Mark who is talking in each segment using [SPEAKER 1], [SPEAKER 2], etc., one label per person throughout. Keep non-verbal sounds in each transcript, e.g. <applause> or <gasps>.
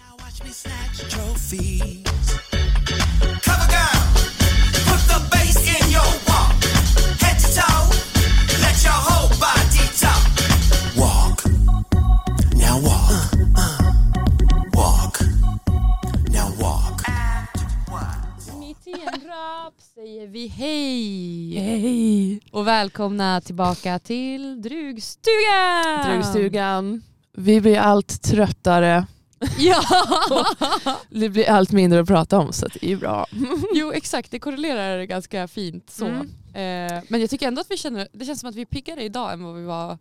[SPEAKER 1] Watch me snatch trophies. Cover girl, put the bass in your walk. Head to toe, let your whole body talk. Walk, now walk. Walk, now walk.
[SPEAKER 2] Mitt i en rap säger vi hej! Hej! Och välkomna tillbaka till Drugstugan!
[SPEAKER 3] Drugstugan. Vi blir allt tröttare.
[SPEAKER 2] <laughs> Ja!
[SPEAKER 3] Det blir allt mindre att prata om så att det är ju bra.
[SPEAKER 2] Jo exakt, det korrelerar ganska fint så.
[SPEAKER 3] Mm.
[SPEAKER 2] Eh, men jag tycker ändå att vi känner, det känns som att vi är piggare idag än vad vi var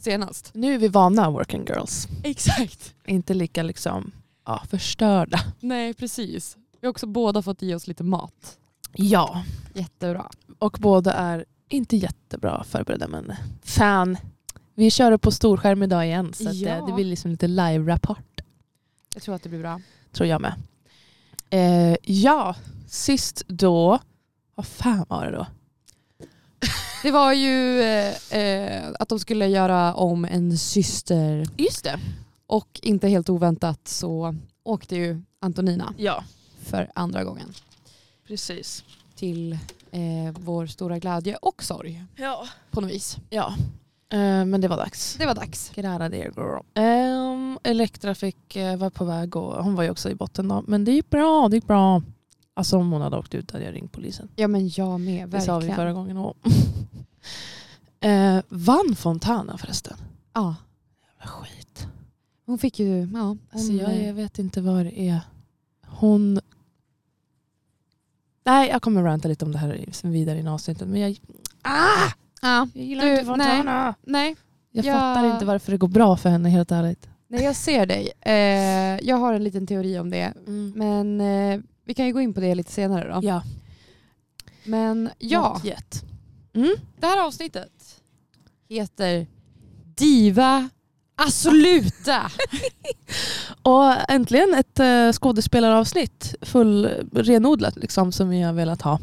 [SPEAKER 2] senast.
[SPEAKER 3] Mm. Nu är vi vana working girls.
[SPEAKER 2] Exakt!
[SPEAKER 3] Inte lika liksom, ja, förstörda.
[SPEAKER 2] Nej precis. Vi har också båda fått i oss lite mat.
[SPEAKER 3] Ja,
[SPEAKER 2] Jättebra.
[SPEAKER 3] och båda är inte jättebra förberedda men fan. Vi kör det på storskärm idag igen så att
[SPEAKER 2] Ja.
[SPEAKER 3] det, det blir liksom lite live-rapport
[SPEAKER 2] Jag tror att det blir bra.
[SPEAKER 3] tror jag med. Eh, ja, sist då, vad fan var det då?
[SPEAKER 2] Det var ju eh, eh, att de skulle göra om en syster
[SPEAKER 3] Just det.
[SPEAKER 2] och inte helt oväntat så åkte ju Antonina
[SPEAKER 3] Ja,
[SPEAKER 2] för andra gången
[SPEAKER 3] precis.
[SPEAKER 2] till eh, vår stora glädje och sorg
[SPEAKER 3] Ja.
[SPEAKER 2] på något vis.
[SPEAKER 3] Ja, eh, men det var dags.
[SPEAKER 2] Det var dags.
[SPEAKER 3] Get out of there girl. Ehm, Elektra fick eh, var på väg och hon var ju också i botten då. Men det gick bra, det gick bra. Alltså om hon hade åkt ut hade jag ringt polisen.
[SPEAKER 2] Ja men jag med,
[SPEAKER 3] Det sa
[SPEAKER 2] verkligen.
[SPEAKER 3] vi förra gången. Och <laughs> eh, vann Fontana förresten?
[SPEAKER 2] Ja,
[SPEAKER 3] Vad skit.
[SPEAKER 2] hon fick ju, ja. Hon, eh,
[SPEAKER 3] Alltså jag, jag vet inte vad det är. Hon... Nej, jag kommer ranta lite om det här vidare i avsnittet. Men jag, ah,
[SPEAKER 2] ja.
[SPEAKER 3] jag gillar
[SPEAKER 2] Du,
[SPEAKER 3] inte
[SPEAKER 2] nej.
[SPEAKER 3] Fontana.
[SPEAKER 2] Nej,
[SPEAKER 3] Jag
[SPEAKER 2] Ja.
[SPEAKER 3] fattar inte varför det går bra för henne helt ärligt.
[SPEAKER 2] nej, jag ser dig. Eh, jag har en liten teori om det.
[SPEAKER 3] Mm.
[SPEAKER 2] Men eh, vi kan ju gå in på det lite senare då.
[SPEAKER 3] Ja.
[SPEAKER 2] Men ja,
[SPEAKER 3] Not yet.
[SPEAKER 2] det här avsnittet heter Diva Assoluta.
[SPEAKER 3] Och äntligen ett eh, skådespelaravsnitt, full renodlat liksom, som vi har velat ha.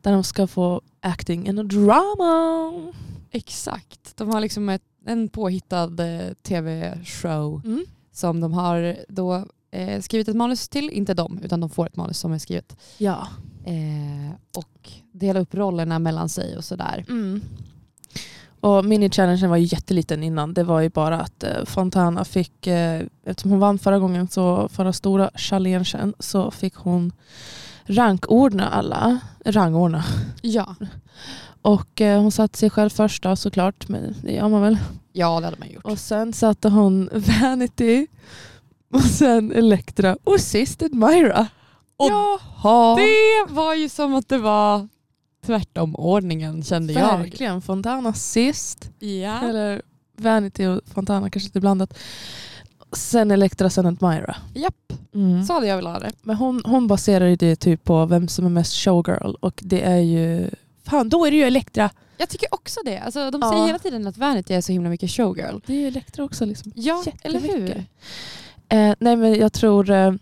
[SPEAKER 3] Där de ska få acting and drama.
[SPEAKER 2] Exakt. De har liksom ett, en påhittad eh, tv-show
[SPEAKER 3] Mm.
[SPEAKER 2] som de har då eh, skrivit ett manus till. Inte de, utan de får ett manus som är skrivet.
[SPEAKER 3] Ja.
[SPEAKER 2] Eh, och dela upp rollerna mellan sig och sådär.
[SPEAKER 3] Mm. Och mini-challengen var ju jätteliten innan. Det var ju bara att eh, Fontana fick, eh, eftersom hon vann förra gången, så förra stora challengen, så fick hon rankordna alla. Rangordna.
[SPEAKER 2] Ja.
[SPEAKER 3] Och eh, hon satte sig själv först då, såklart, men det gör man väl.
[SPEAKER 2] ja, det hade man gjort.
[SPEAKER 3] Och sen satte hon Vanity och sen Elektra och sist Admira. Och
[SPEAKER 2] ja,
[SPEAKER 3] ha,
[SPEAKER 2] det var ju som att det var tvärtom ordningen kände jag.
[SPEAKER 3] verkligen Fontana sist.
[SPEAKER 2] Ja.
[SPEAKER 3] Eller Vanity och Fontana kanske lite blandat. Sen Elektra, sen Admira.
[SPEAKER 2] Japp,
[SPEAKER 3] Mm.
[SPEAKER 2] så hade jag velat ha det.
[SPEAKER 3] Men hon, hon baserar ju det typ på vem som är mest showgirl och det är ju... Fan, då är det ju Elektra!
[SPEAKER 2] Jag tycker också det. Alltså, de
[SPEAKER 3] Ja.
[SPEAKER 2] säger hela tiden att Vanity är så himla mycket showgirl.
[SPEAKER 3] Det är ju Elektra också liksom.
[SPEAKER 2] Ja, eller hur?
[SPEAKER 3] Jättemycket. Eh, nej men jag tror eh,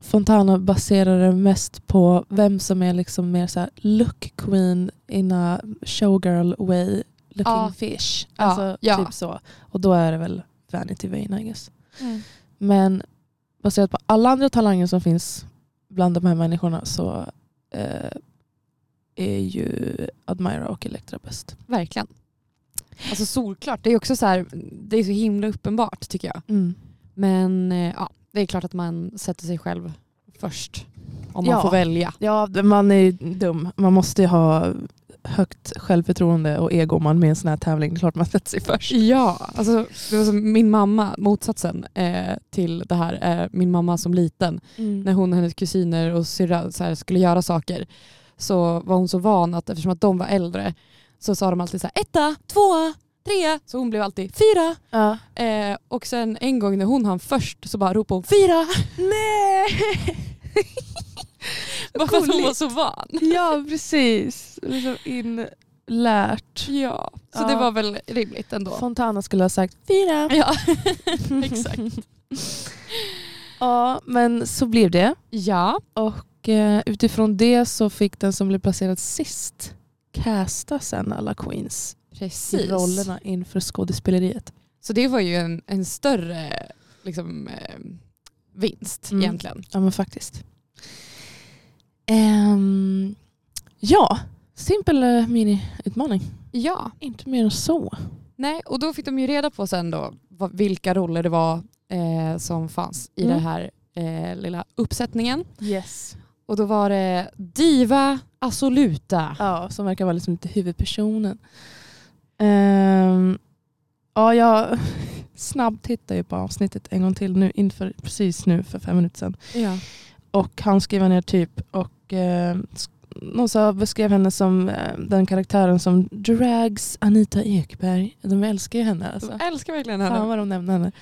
[SPEAKER 3] Fontana baserar det mest på vem som är liksom mer så här look queen in a showgirl way looking
[SPEAKER 2] Ja.
[SPEAKER 3] fish.
[SPEAKER 2] Ja,
[SPEAKER 3] Alltså
[SPEAKER 2] ja.
[SPEAKER 3] typ så. Och då är det väl Vanity Vane I guess.
[SPEAKER 2] Mm.
[SPEAKER 3] Men baserat på alla andra talanger som finns bland de här människorna så eh, är ju Admira och Elektra bäst.
[SPEAKER 2] Verkligen. Alltså solklart. Det är också så här, det är så himla uppenbart tycker jag. Men eh, ja, det är klart att man sätter sig själv först. Om man
[SPEAKER 3] Ja.
[SPEAKER 2] får välja.
[SPEAKER 3] Ja, man är ju dum. Man måste ju ha högt självförtroende och ego om man är med i en sån här tävling. Det är klart man sätter sig först.
[SPEAKER 2] Ja, alltså det var som min mamma, motsatsen eh, till det här, eh, min mamma som liten, när hon och hennes kusiner och syrra så här, skulle göra saker så var hon så van att eftersom att de var äldre så sa de alltid så här etta, tvåa, trea, så hon blev alltid fyra.
[SPEAKER 3] Ja.
[SPEAKER 2] Eh, och sen en gång när hon hann först så bara ropade hon <laughs> fyra.
[SPEAKER 3] Nej!
[SPEAKER 2] Bara för att hon
[SPEAKER 3] Gulligt.
[SPEAKER 2] var så van.
[SPEAKER 3] ja, precis. Liksom inlärt.
[SPEAKER 2] Ja, så
[SPEAKER 3] Ja.
[SPEAKER 2] det var väl rimligt ändå.
[SPEAKER 3] Fontana skulle ha sagt fyra.
[SPEAKER 2] Ja, <laughs> exakt.
[SPEAKER 3] <laughs> Ja, men så blev det.
[SPEAKER 2] Ja,
[SPEAKER 3] Och eh, utifrån det så fick den som blev placerad sist casta sen alla queens i
[SPEAKER 2] precis.
[SPEAKER 3] rollerna inför skådespeleriet.
[SPEAKER 2] Så det var ju en, en större liksom, eh, vinst
[SPEAKER 3] Mm.
[SPEAKER 2] egentligen.
[SPEAKER 3] Ja men faktiskt. Ehm, ja, simpel eh, mini-utmaning.
[SPEAKER 2] Ja,
[SPEAKER 3] Inte mer än så.
[SPEAKER 2] nej, och då fick de ju reda på sen då vad, vilka roller det var eh, som fanns i
[SPEAKER 3] Mm.
[SPEAKER 2] den här eh, lilla uppsättningen.
[SPEAKER 3] Yes.
[SPEAKER 2] Och då var det Diva Assoluta.
[SPEAKER 3] Ja, som verkar vara liksom lite huvudpersonen. Ehm, ja, jag <laughs> snabbtittar ju på avsnittet en gång till nu inför, precis nu för fem minuter sedan.
[SPEAKER 2] Ja.
[SPEAKER 3] Och han skrev ner typ och eh, sk- någon sa, beskrev henne som eh, den karaktären som drags Anita Ekberg. De älskar ju henne. Alltså.
[SPEAKER 2] Jag älskar verkligen
[SPEAKER 3] Fan
[SPEAKER 2] henne.
[SPEAKER 3] vad de nämner henne.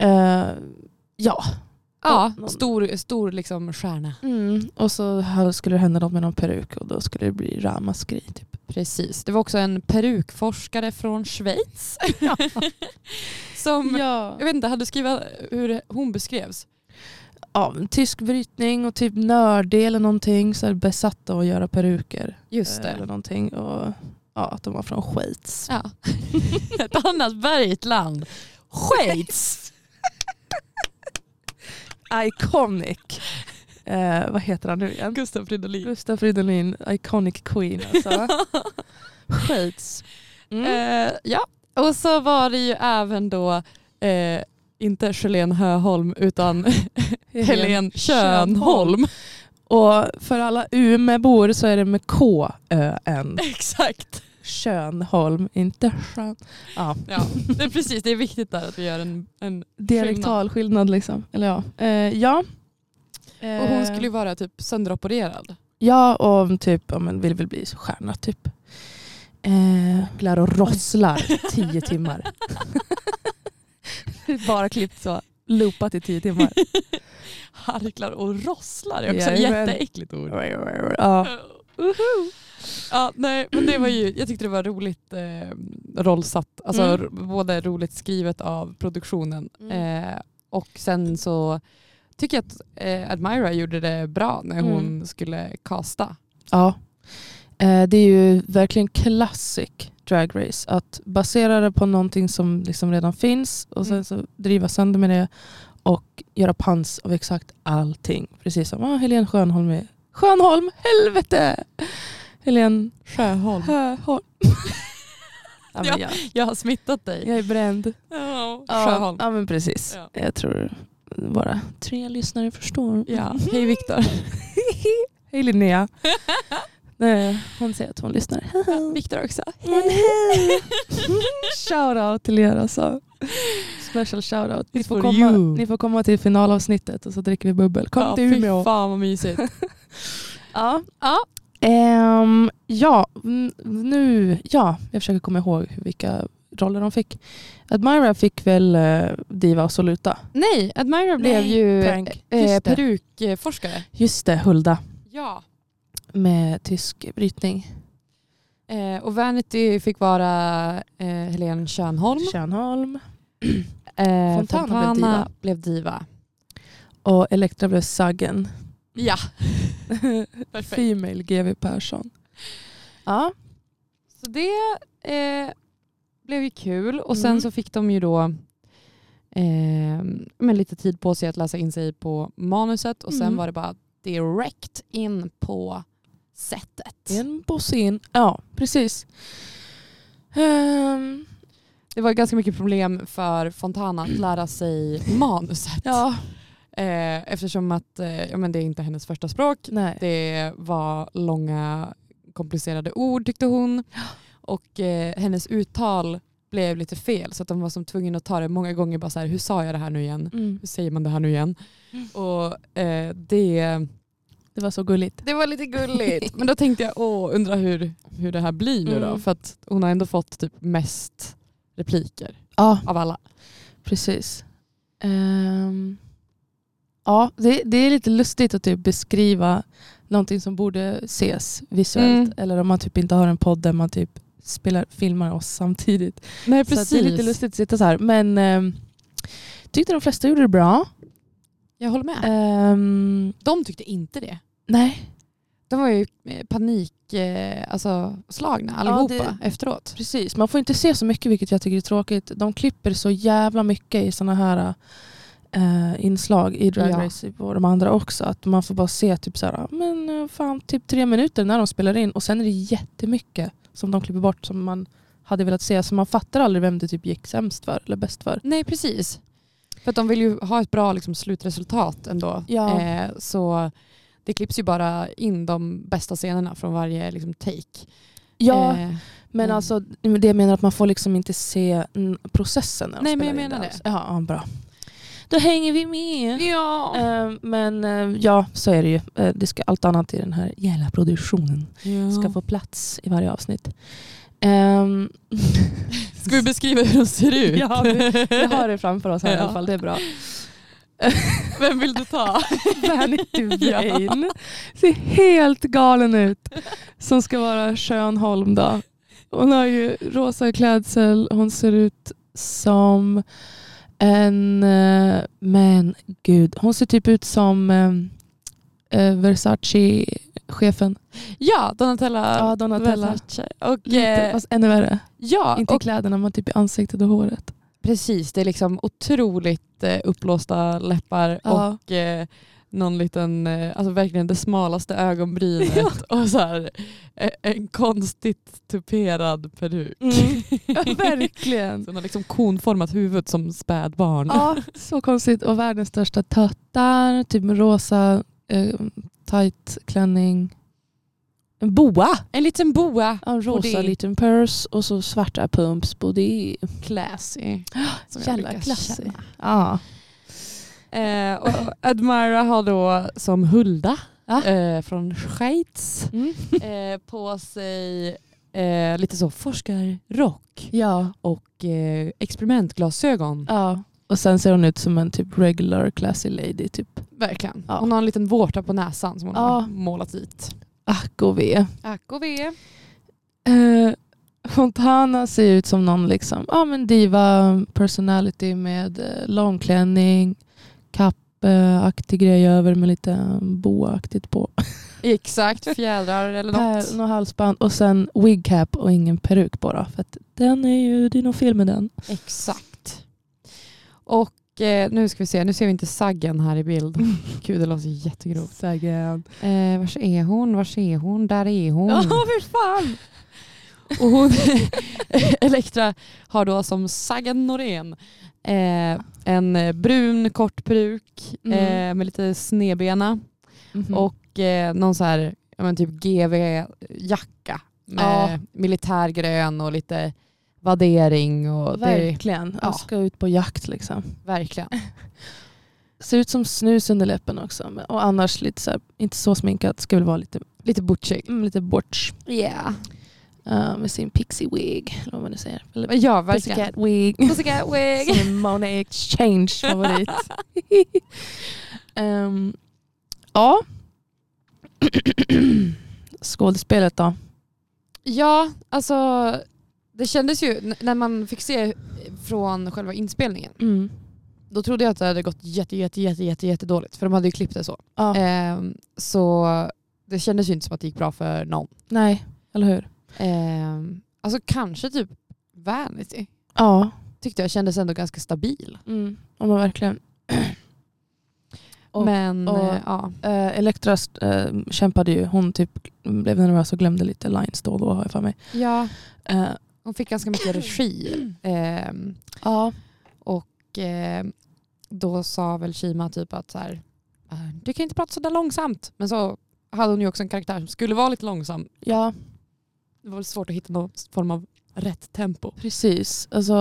[SPEAKER 3] Eh, ja.
[SPEAKER 2] Ja,
[SPEAKER 3] någon-
[SPEAKER 2] stor, stor liksom stjärna.
[SPEAKER 3] Och så här skulle det hända något med någon peruk och då skulle det bli ramaskri. Typ.
[SPEAKER 2] Precis. Det var också en perukforskare från Schweiz. <laughs> som,
[SPEAKER 3] Ja.
[SPEAKER 2] jag vet inte, hade skrivit hur hon beskrevs.
[SPEAKER 3] ja, men tysk brytning och typ nördig eller någonting. Så här besatt av att göra peruker.
[SPEAKER 2] Just
[SPEAKER 3] eh, Eller
[SPEAKER 2] det.
[SPEAKER 3] någonting. Och, ja, att de var från Schweiz.
[SPEAKER 2] Ja. <laughs> Ett annat bergigt land. Schweiz!
[SPEAKER 3] Iconic. Eh, vad heter han nu
[SPEAKER 2] <laughs>
[SPEAKER 3] igen?
[SPEAKER 2] Gustav Fridolin.
[SPEAKER 3] Gustav Fridolin, Iconic Queen
[SPEAKER 2] <laughs>
[SPEAKER 3] alltså. Skits. Mm.
[SPEAKER 2] Eh, ja, och så var det ju även då eh, inte Helene Höholm <laughs> utan Helene Könholm.
[SPEAKER 3] Och för alla Umeåbor så är det med K-Ö-N.
[SPEAKER 2] <laughs> Exakt.
[SPEAKER 3] Könholm, inte skön. Ja,
[SPEAKER 2] Ja, det är precis. Det är viktigt där att vi gör en... en
[SPEAKER 3] dialektalskillnad liksom. Eller ja. Eh, ja.
[SPEAKER 2] och hon
[SPEAKER 3] Eh,
[SPEAKER 2] skulle ju vara typ sönderopererad.
[SPEAKER 3] Ja, och typ ja, men vill väl bli stjärna typ. Eh, glar och rosslar i tio timmar.
[SPEAKER 2] <laughs>
[SPEAKER 3] Bara klippt så, loopat i tio timmar.
[SPEAKER 2] Harklar och rosslar är också ett
[SPEAKER 3] Jajamän.
[SPEAKER 2] jätteäckligt ord.
[SPEAKER 3] ja.
[SPEAKER 2] Ja, nej, men det var ju, jag tyckte det var roligt eh, rollsatt. Alltså,
[SPEAKER 3] Mm.
[SPEAKER 2] r- Både roligt skrivet av produktionen
[SPEAKER 3] Mm.
[SPEAKER 2] eh, och sen så tycker jag att eh, Admira gjorde det bra när
[SPEAKER 3] Mm.
[SPEAKER 2] hon skulle kasta.
[SPEAKER 3] ja. Eh, det är ju verkligen classic drag race. Att basera det på någonting som liksom redan finns och sen
[SPEAKER 2] Mm.
[SPEAKER 3] så driva sönder med det och göra pans av exakt allting. Precis som ah, Helene Schönholm är. Schönholm, helvete! Helene
[SPEAKER 2] <laughs> Sjöholm.
[SPEAKER 3] Sjöholm. ja, men jag,
[SPEAKER 2] Jag har smittat dig.
[SPEAKER 3] jag är bränd.
[SPEAKER 2] Ja.
[SPEAKER 3] Ja,
[SPEAKER 2] Sjöholm.
[SPEAKER 3] ja men precis.
[SPEAKER 2] Ja.
[SPEAKER 3] Jag tror bara tre lyssnare förstår. <laughs>
[SPEAKER 2] Ja. Hej <laughs> Viktor.
[SPEAKER 3] Hej Linnea.
[SPEAKER 2] <laughs>
[SPEAKER 3] Nej, hon säger att hon lyssnar. <laughs>
[SPEAKER 2] Viktor också.
[SPEAKER 3] shoutout till er alltså. Special shoutout. Ni
[SPEAKER 2] It's
[SPEAKER 3] får,
[SPEAKER 2] for
[SPEAKER 3] komma,
[SPEAKER 2] you.
[SPEAKER 3] ni får komma till finalavsnittet och så dricker vi bubbel. Kom till Umeå.
[SPEAKER 2] Fy fan vad mysigt.
[SPEAKER 3] Ja.
[SPEAKER 2] <laughs> Ja.
[SPEAKER 3] Ehm, ja, mm, nu, ja, jag försöker komma ihåg vilka roller de fick. Admira fick väl eh, Diva och Soluta.
[SPEAKER 2] Nej, Admira blev
[SPEAKER 3] Nej,
[SPEAKER 2] ju
[SPEAKER 3] prank.
[SPEAKER 2] eh,
[SPEAKER 3] Just det.
[SPEAKER 2] perukforskare.
[SPEAKER 3] Just det, Hulda
[SPEAKER 2] Ja.
[SPEAKER 3] med tysk brytning.
[SPEAKER 2] Eh, och Vanity fick vara eh, Helene Könholm.
[SPEAKER 3] Tjärnholm.
[SPEAKER 2] Eh,
[SPEAKER 3] Fontana blev diva.
[SPEAKER 2] blev diva.
[SPEAKER 3] Och Elektra blev Saggen.
[SPEAKER 2] <laughs> Ja. Perfekt.
[SPEAKER 3] Female GW Persson. Ja.
[SPEAKER 2] Så det eh, blev ju kul. Och sen
[SPEAKER 3] Mm.
[SPEAKER 2] så fick de ju då eh, men lite tid på sig att läsa in sig på manuset och sen
[SPEAKER 3] Mm.
[SPEAKER 2] var det bara direkt in på setet.
[SPEAKER 3] En på scen. Ja, precis. Ehm,
[SPEAKER 2] Det var ganska mycket problem för Fontana att lära sig manuset.
[SPEAKER 3] ja,
[SPEAKER 2] Eh, eftersom att eh, ja, men det är inte hennes första språk.
[SPEAKER 3] nej.
[SPEAKER 2] Det var långa komplicerade ord tyckte hon. Och eh, hennes uttal blev lite fel så att de var som tvungna att ta det många gånger. Bara så här, hur sa jag det här nu igen?
[SPEAKER 3] Mm.
[SPEAKER 2] Hur säger man det här nu igen?
[SPEAKER 3] Mm.
[SPEAKER 2] Och eh, det,
[SPEAKER 3] Det var så gulligt.
[SPEAKER 2] det var lite gulligt. <laughs> Men då tänkte jag, åh, undrar hur, hur det här blir nu då?
[SPEAKER 3] Mm.
[SPEAKER 2] För att hon har ändå fått typ mest repliker
[SPEAKER 3] Ja,
[SPEAKER 2] av alla.
[SPEAKER 3] precis. Ehm, ja, det, det är lite lustigt att typ beskriva någonting som borde ses visuellt.
[SPEAKER 2] Mm.
[SPEAKER 3] Eller om man typ inte har en podd där man typ spelar, filmar oss samtidigt.
[SPEAKER 2] Nej
[SPEAKER 3] Så att det är lite lustigt att sitta så här. Men ehm, tyckte de flesta gjorde det bra.
[SPEAKER 2] Jag håller med.
[SPEAKER 3] Ehm,
[SPEAKER 2] De tyckte inte det.
[SPEAKER 3] nej,
[SPEAKER 2] De var ju eh, panik, eh, alltså, slagna allihopa
[SPEAKER 3] det-
[SPEAKER 2] efteråt.
[SPEAKER 3] precis. Man får inte se så mycket vilket jag tycker är tråkigt. De klipper så jävla mycket i sådana här eh, inslag i Drag
[SPEAKER 2] Ja.
[SPEAKER 3] Race och de andra också. Att man får bara se typ så här, men eh, fan, typ tre minuter när de spelar in och sen är det jättemycket som de klipper bort som man hade velat se. Så man fattar aldrig vem det typ gick sämst för eller bäst för.
[SPEAKER 2] Nej precis. För att de vill ju ha ett bra liksom, slutresultat ändå.
[SPEAKER 3] Ja.
[SPEAKER 2] Eh, så det klipps ju bara in de bästa scenerna från varje liksom, take.
[SPEAKER 3] Ja,
[SPEAKER 2] Eh,
[SPEAKER 3] men
[SPEAKER 2] mm.
[SPEAKER 3] alltså det jag menar att man får liksom inte se mm, processen. När de
[SPEAKER 2] Nej, men
[SPEAKER 3] spelar
[SPEAKER 2] jag
[SPEAKER 3] in
[SPEAKER 2] menar
[SPEAKER 3] alls. Ja, ja, bra. Då hänger vi med.
[SPEAKER 2] ja.
[SPEAKER 3] Eh, Men eh, ja, så är det ju. Eh, Det ska, allt annat i den här jävla produktionen ska få plats i varje avsnitt. Ehm,
[SPEAKER 2] Ska vi beskriva hur de ser ut?
[SPEAKER 3] Ja, vi har det framför oss här i alla fall, det är bra.
[SPEAKER 2] <laughs> Vem vill du
[SPEAKER 3] <laughs>
[SPEAKER 2] ta? <laughs>
[SPEAKER 3] Vanity Vane ser helt galen ut. Som ska vara Schönholm då. Hon har ju rosa klädsel, hon ser ut som en... eh, Men gud, hon ser typ ut som eh, eh, Versace-chefen.
[SPEAKER 2] Ja, Donatella.
[SPEAKER 3] Ja, Donatella.
[SPEAKER 2] Versace. Och,
[SPEAKER 3] Lite,
[SPEAKER 2] eh,
[SPEAKER 3] fast ännu värre.
[SPEAKER 2] ja,
[SPEAKER 3] Inte i
[SPEAKER 2] och
[SPEAKER 3] kläderna, men typ i ansiktet och håret.
[SPEAKER 2] precis. Det är liksom otroligt eh, uppblåsta läppar
[SPEAKER 3] Ja.
[SPEAKER 2] och eh, någon liten, eh, alltså verkligen det smalaste ögonbrynet <laughs> och så här, eh, en konstigt tuperad peruk.
[SPEAKER 3] Mm. <laughs> verkligen.
[SPEAKER 2] <laughs> Hon har liksom konformat huvud som spädbarn.
[SPEAKER 3] Ja, så konstigt. Och världens största tuttar, typ med rosa eh, tight klänning. En boa!
[SPEAKER 2] En liten boa.
[SPEAKER 3] En rosa
[SPEAKER 2] Body.
[SPEAKER 3] liten purse och så svarta pumps. Body.
[SPEAKER 2] Classy. Som jag
[SPEAKER 3] Jävla
[SPEAKER 2] brukar
[SPEAKER 3] classy.
[SPEAKER 2] känna.
[SPEAKER 3] Ja.
[SPEAKER 2] Eh, och Admira har då som Hulda
[SPEAKER 3] Ja.
[SPEAKER 2] eh, från Schweiz
[SPEAKER 3] Mm.
[SPEAKER 2] eh, på sig eh, lite så forskarrock
[SPEAKER 3] ja.
[SPEAKER 2] och eh, experimentglasögon.
[SPEAKER 3] ja. Och sen ser hon ut som en typ regular classy lady. Typ.
[SPEAKER 2] Verkligen.
[SPEAKER 3] Ja.
[SPEAKER 2] Hon har en liten vårta på näsan som hon
[SPEAKER 3] Ja.
[SPEAKER 2] har målat dit.
[SPEAKER 3] Ack och ve.
[SPEAKER 2] Ack och ve.
[SPEAKER 3] Eh, Fontana ser ut som någon liksom, ja, men diva personality med eh, långklänning, kappaktig grej över med lite eh, boaaktigt på.
[SPEAKER 2] Exakt, fjädrar eller något.
[SPEAKER 3] Pärlor och halsband och sen wig cap och ingen peruk bara. För att den är ju, det är nog fel med den.
[SPEAKER 2] Exakt. Och eh, nu ska vi se, nu ser vi inte saggen här i <laughs> bild. Gud det låter jättegrovt.
[SPEAKER 3] Sägen.
[SPEAKER 2] Eh, vars är hon? Vars är hon? Där är hon.
[SPEAKER 3] Ja, fy fan!
[SPEAKER 2] Och hon, <laughs> Elektra har då som Sagan Norén eh, en eh, brun kort peruk
[SPEAKER 3] Mm. Mhm.
[SPEAKER 2] eh, med lite snedbena
[SPEAKER 3] Och
[SPEAKER 2] och eh, någon så här ja, men typ GV-jacka med militärgrön och lite vaddering. Och det är,
[SPEAKER 3] verkligen,
[SPEAKER 2] ja.
[SPEAKER 3] jag ska ut på jakt liksom.
[SPEAKER 2] verkligen.
[SPEAKER 3] Ser ut som snus under läppen också. men- Och annars lite så här, inte så sminkat, ska väl vara lite,
[SPEAKER 2] Lite butchig.
[SPEAKER 3] mm, lite borts.
[SPEAKER 2] Yeah.
[SPEAKER 3] Eh, med sin pixie wig, eller vad man nu säger. Eller
[SPEAKER 2] Ja, verkligen.
[SPEAKER 3] <laughs> pussycat wig.
[SPEAKER 2] Pussycat wig.
[SPEAKER 3] Som en Mona Exchange <laughs> favorit. Ehm, ja. <clears throat> Skådespelet då?
[SPEAKER 2] Ja, alltså det kändes ju n- när man fick se från själva inspelningen.
[SPEAKER 3] Mm.
[SPEAKER 2] Då trodde jag att det hade gått jätte, jätte, jätte, jätte, jätte dåligt för de hade ju klippt det så.
[SPEAKER 3] Ja.
[SPEAKER 2] Ehm, så det kändes ju inte som att det gick bra för någon.
[SPEAKER 3] Nej, eller hur?
[SPEAKER 2] Ehm, alltså kanske typ Vanity
[SPEAKER 3] Ja,
[SPEAKER 2] tyckte jag kändes ändå ganska stabil.
[SPEAKER 3] mm. om man verkligen. Och-
[SPEAKER 2] Men
[SPEAKER 3] och-
[SPEAKER 2] eh, ja.
[SPEAKER 3] Eh, Elektra eh, kämpade ju. Hon typ blev nervös och glömde lite lines då och då har jag för mig.
[SPEAKER 2] ja,
[SPEAKER 3] Eh,
[SPEAKER 2] hon fick ganska mycket <clears throat> regi. Ehm,
[SPEAKER 3] ja.
[SPEAKER 2] och eh, då sa väl Shima typ att så här, "Eh, du kan inte prata så där långsamt. Men så hade hon ju också en karaktär som skulle vara lite långsam.
[SPEAKER 3] ja,
[SPEAKER 2] Det var väl svårt att hitta någon form av rätt tempo.
[SPEAKER 3] precis. Alltså,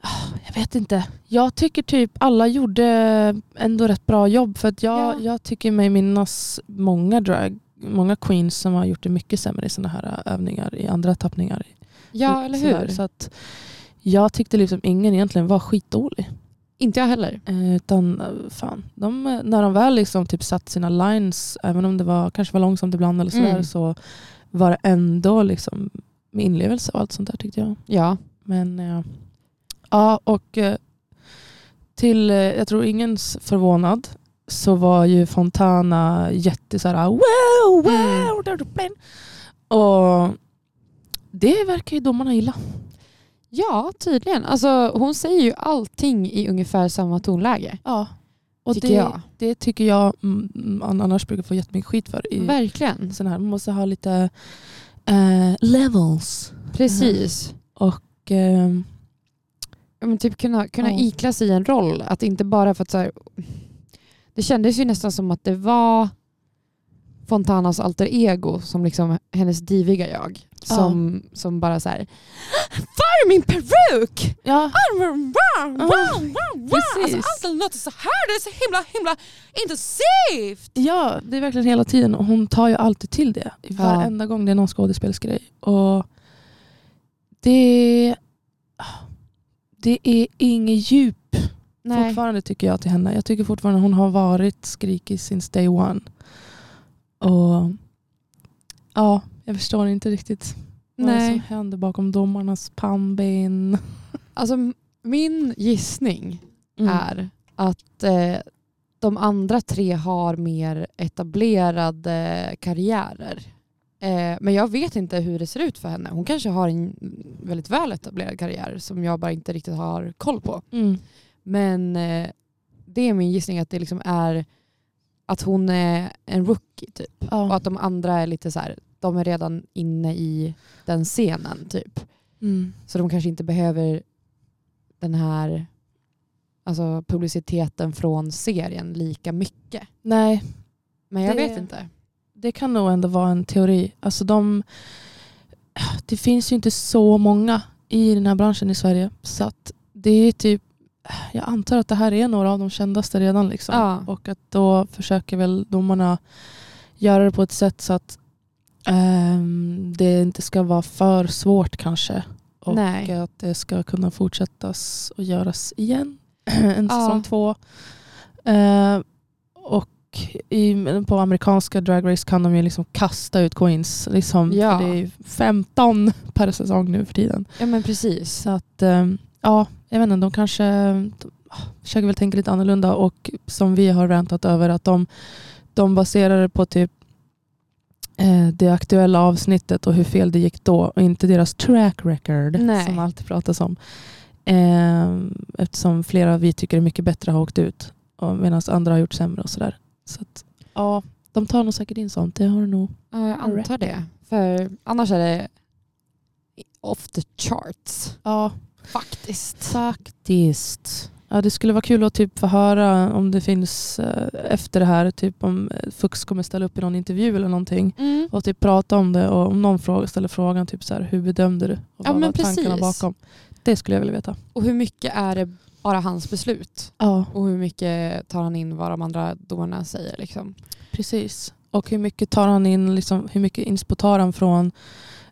[SPEAKER 3] ah, jag vet inte. Jag tycker typ alla gjorde ändå rätt bra jobb. För att jag,
[SPEAKER 2] Ja.
[SPEAKER 3] jag tycker mig minnas många drag, många queens som har gjort det mycket sämre i sådana här äh, övningar i andra tappningar.
[SPEAKER 2] Ja, eller hur?
[SPEAKER 3] Sådär, Så att jag tyckte liksom ingen egentligen var skitdålig.
[SPEAKER 2] inte jag heller.
[SPEAKER 3] Eh, Utan eh, fan, de, eh, när de väl liksom typ satt sina lines, även om det var, kanske var långsamt ibland eller sådär,
[SPEAKER 2] Mm.
[SPEAKER 3] så var det ändå liksom med inlevelse och allt sånt där tyckte jag.
[SPEAKER 2] Ja.
[SPEAKER 3] Men eh, ja, och eh, till, eh, jag tror ingens förvånad, så var ju Fontana jätte såhär wow,
[SPEAKER 2] Mm.
[SPEAKER 3] wow, där du plane." Och det verkar ju domarna gilla.
[SPEAKER 2] Ja, tydligen. Alltså, hon säger ju allting i ungefär samma tonläge.
[SPEAKER 3] Ja. Och
[SPEAKER 2] Tycker
[SPEAKER 3] det,
[SPEAKER 2] jag.
[SPEAKER 3] det tycker jag mm, man annars brukar få jättemycket skit för.
[SPEAKER 2] Mm.
[SPEAKER 3] I
[SPEAKER 2] Verkligen.
[SPEAKER 3] sån här. Man måste ha lite eh, levels.
[SPEAKER 2] Precis.
[SPEAKER 3] Och, ehm,
[SPEAKER 2] Ja, men typ kunna kunna
[SPEAKER 3] Ja.
[SPEAKER 2] ikla sig en roll. Att inte bara för att så här, Det kändes ju nästan som att det var Fontanas alter ego som liksom hennes diviga jag.
[SPEAKER 3] Ja.
[SPEAKER 2] Som, som bara så här. Var är min peruk?
[SPEAKER 3] ja, Ah,
[SPEAKER 2] Wow, wow, wow, wow. Alltså,
[SPEAKER 3] precis.
[SPEAKER 2] allt låter så här. Det är så himla, himla intensivt.
[SPEAKER 3] ja, det är verkligen hela tiden. Och hon tar ju alltid till det. I
[SPEAKER 2] Ja.
[SPEAKER 3] Varenda gång det är någon skådespelsgrej. Och det, det är inget djup
[SPEAKER 2] Nej.
[SPEAKER 3] fortfarande tycker jag till henne. Jag tycker fortfarande hon har varit skrikig since day one. Och ja, jag förstår inte riktigt vad det är som
[SPEAKER 2] Nej.
[SPEAKER 3] händer bakom domarnas pannben.
[SPEAKER 2] Alltså, m- min gissning
[SPEAKER 3] Mm.
[SPEAKER 2] Mm. är att eh, de andra tre har mer etablerade karriärer. Eh, men jag vet inte hur det ser ut för henne. Hon kanske har en väldigt väl etablerad karriär som jag bara inte riktigt har koll på.
[SPEAKER 3] Mm.
[SPEAKER 2] Men eh, det är min gissning att det liksom är att hon är en rookie typ. Och
[SPEAKER 3] Ja.
[SPEAKER 2] att de andra är lite så här, de är redan inne i den scenen typ.
[SPEAKER 3] Mm.
[SPEAKER 2] Så de kanske inte behöver den här alltså publiciteten från serien lika mycket.
[SPEAKER 3] Nej,
[SPEAKER 2] Men jag
[SPEAKER 3] Det-
[SPEAKER 2] vet inte.
[SPEAKER 3] det kan nog ändå vara en teori. Alltså de, det finns ju inte så många i den här branschen i Sverige. Så att det är typ, jag antar att det här är några av de kändaste redan. Liksom.
[SPEAKER 2] Ja.
[SPEAKER 3] Och att då försöker väl domarna göra det på ett sätt så att ehm, det inte ska vara för svårt kanske. Och
[SPEAKER 2] Nej.
[SPEAKER 3] att det ska kunna fortsättas och göras igen. <clears throat> en
[SPEAKER 2] Ja.
[SPEAKER 3] säsong två. Eh, och i, på amerikanska Drag Race kan de ju liksom kasta ut coins. Liksom,
[SPEAKER 2] Ja.
[SPEAKER 3] För det är ju 15 per säsong nu för tiden.
[SPEAKER 2] Ja men precis.
[SPEAKER 3] Så att, eh, ja, jag vet inte, de kanske de, ah, försöker väl tänka lite annorlunda och som vi har rantat över att de, de baserar det på typ eh, det aktuella avsnittet och hur fel det gick då och inte deras track record
[SPEAKER 2] Nej.
[SPEAKER 3] som alltid pratas om. Eh, eftersom flera vi tycker är mycket bättre har åkt ut och medan andra har gjort sämre och sådär. Så att, ja, de tar nog säkert in sånt. Det har de nog.
[SPEAKER 2] Ja, jag antar det. För annars är det off the charts
[SPEAKER 3] Ja,
[SPEAKER 2] faktiskt.
[SPEAKER 3] Faktiskt. Ja, det skulle vara kul att typ få höra om det finns eh, efter det här, typ om eh, Fux kommer ställa upp i någon intervju eller någonting
[SPEAKER 2] Mm.
[SPEAKER 3] och typ prata om det och om någon fråga, ställer frågan typ så här, hur bedömde du? Och vad
[SPEAKER 2] men
[SPEAKER 3] var tankarna
[SPEAKER 2] precis.
[SPEAKER 3] bakom? Det skulle jag vilja veta.
[SPEAKER 2] Och hur mycket är det bara hans beslut?
[SPEAKER 3] Ja,
[SPEAKER 2] Och hur mycket tar han in vad de andra domarna säger? Liksom?
[SPEAKER 3] precis. Och hur mycket tar han in, liksom, hur mycket inspo tar han från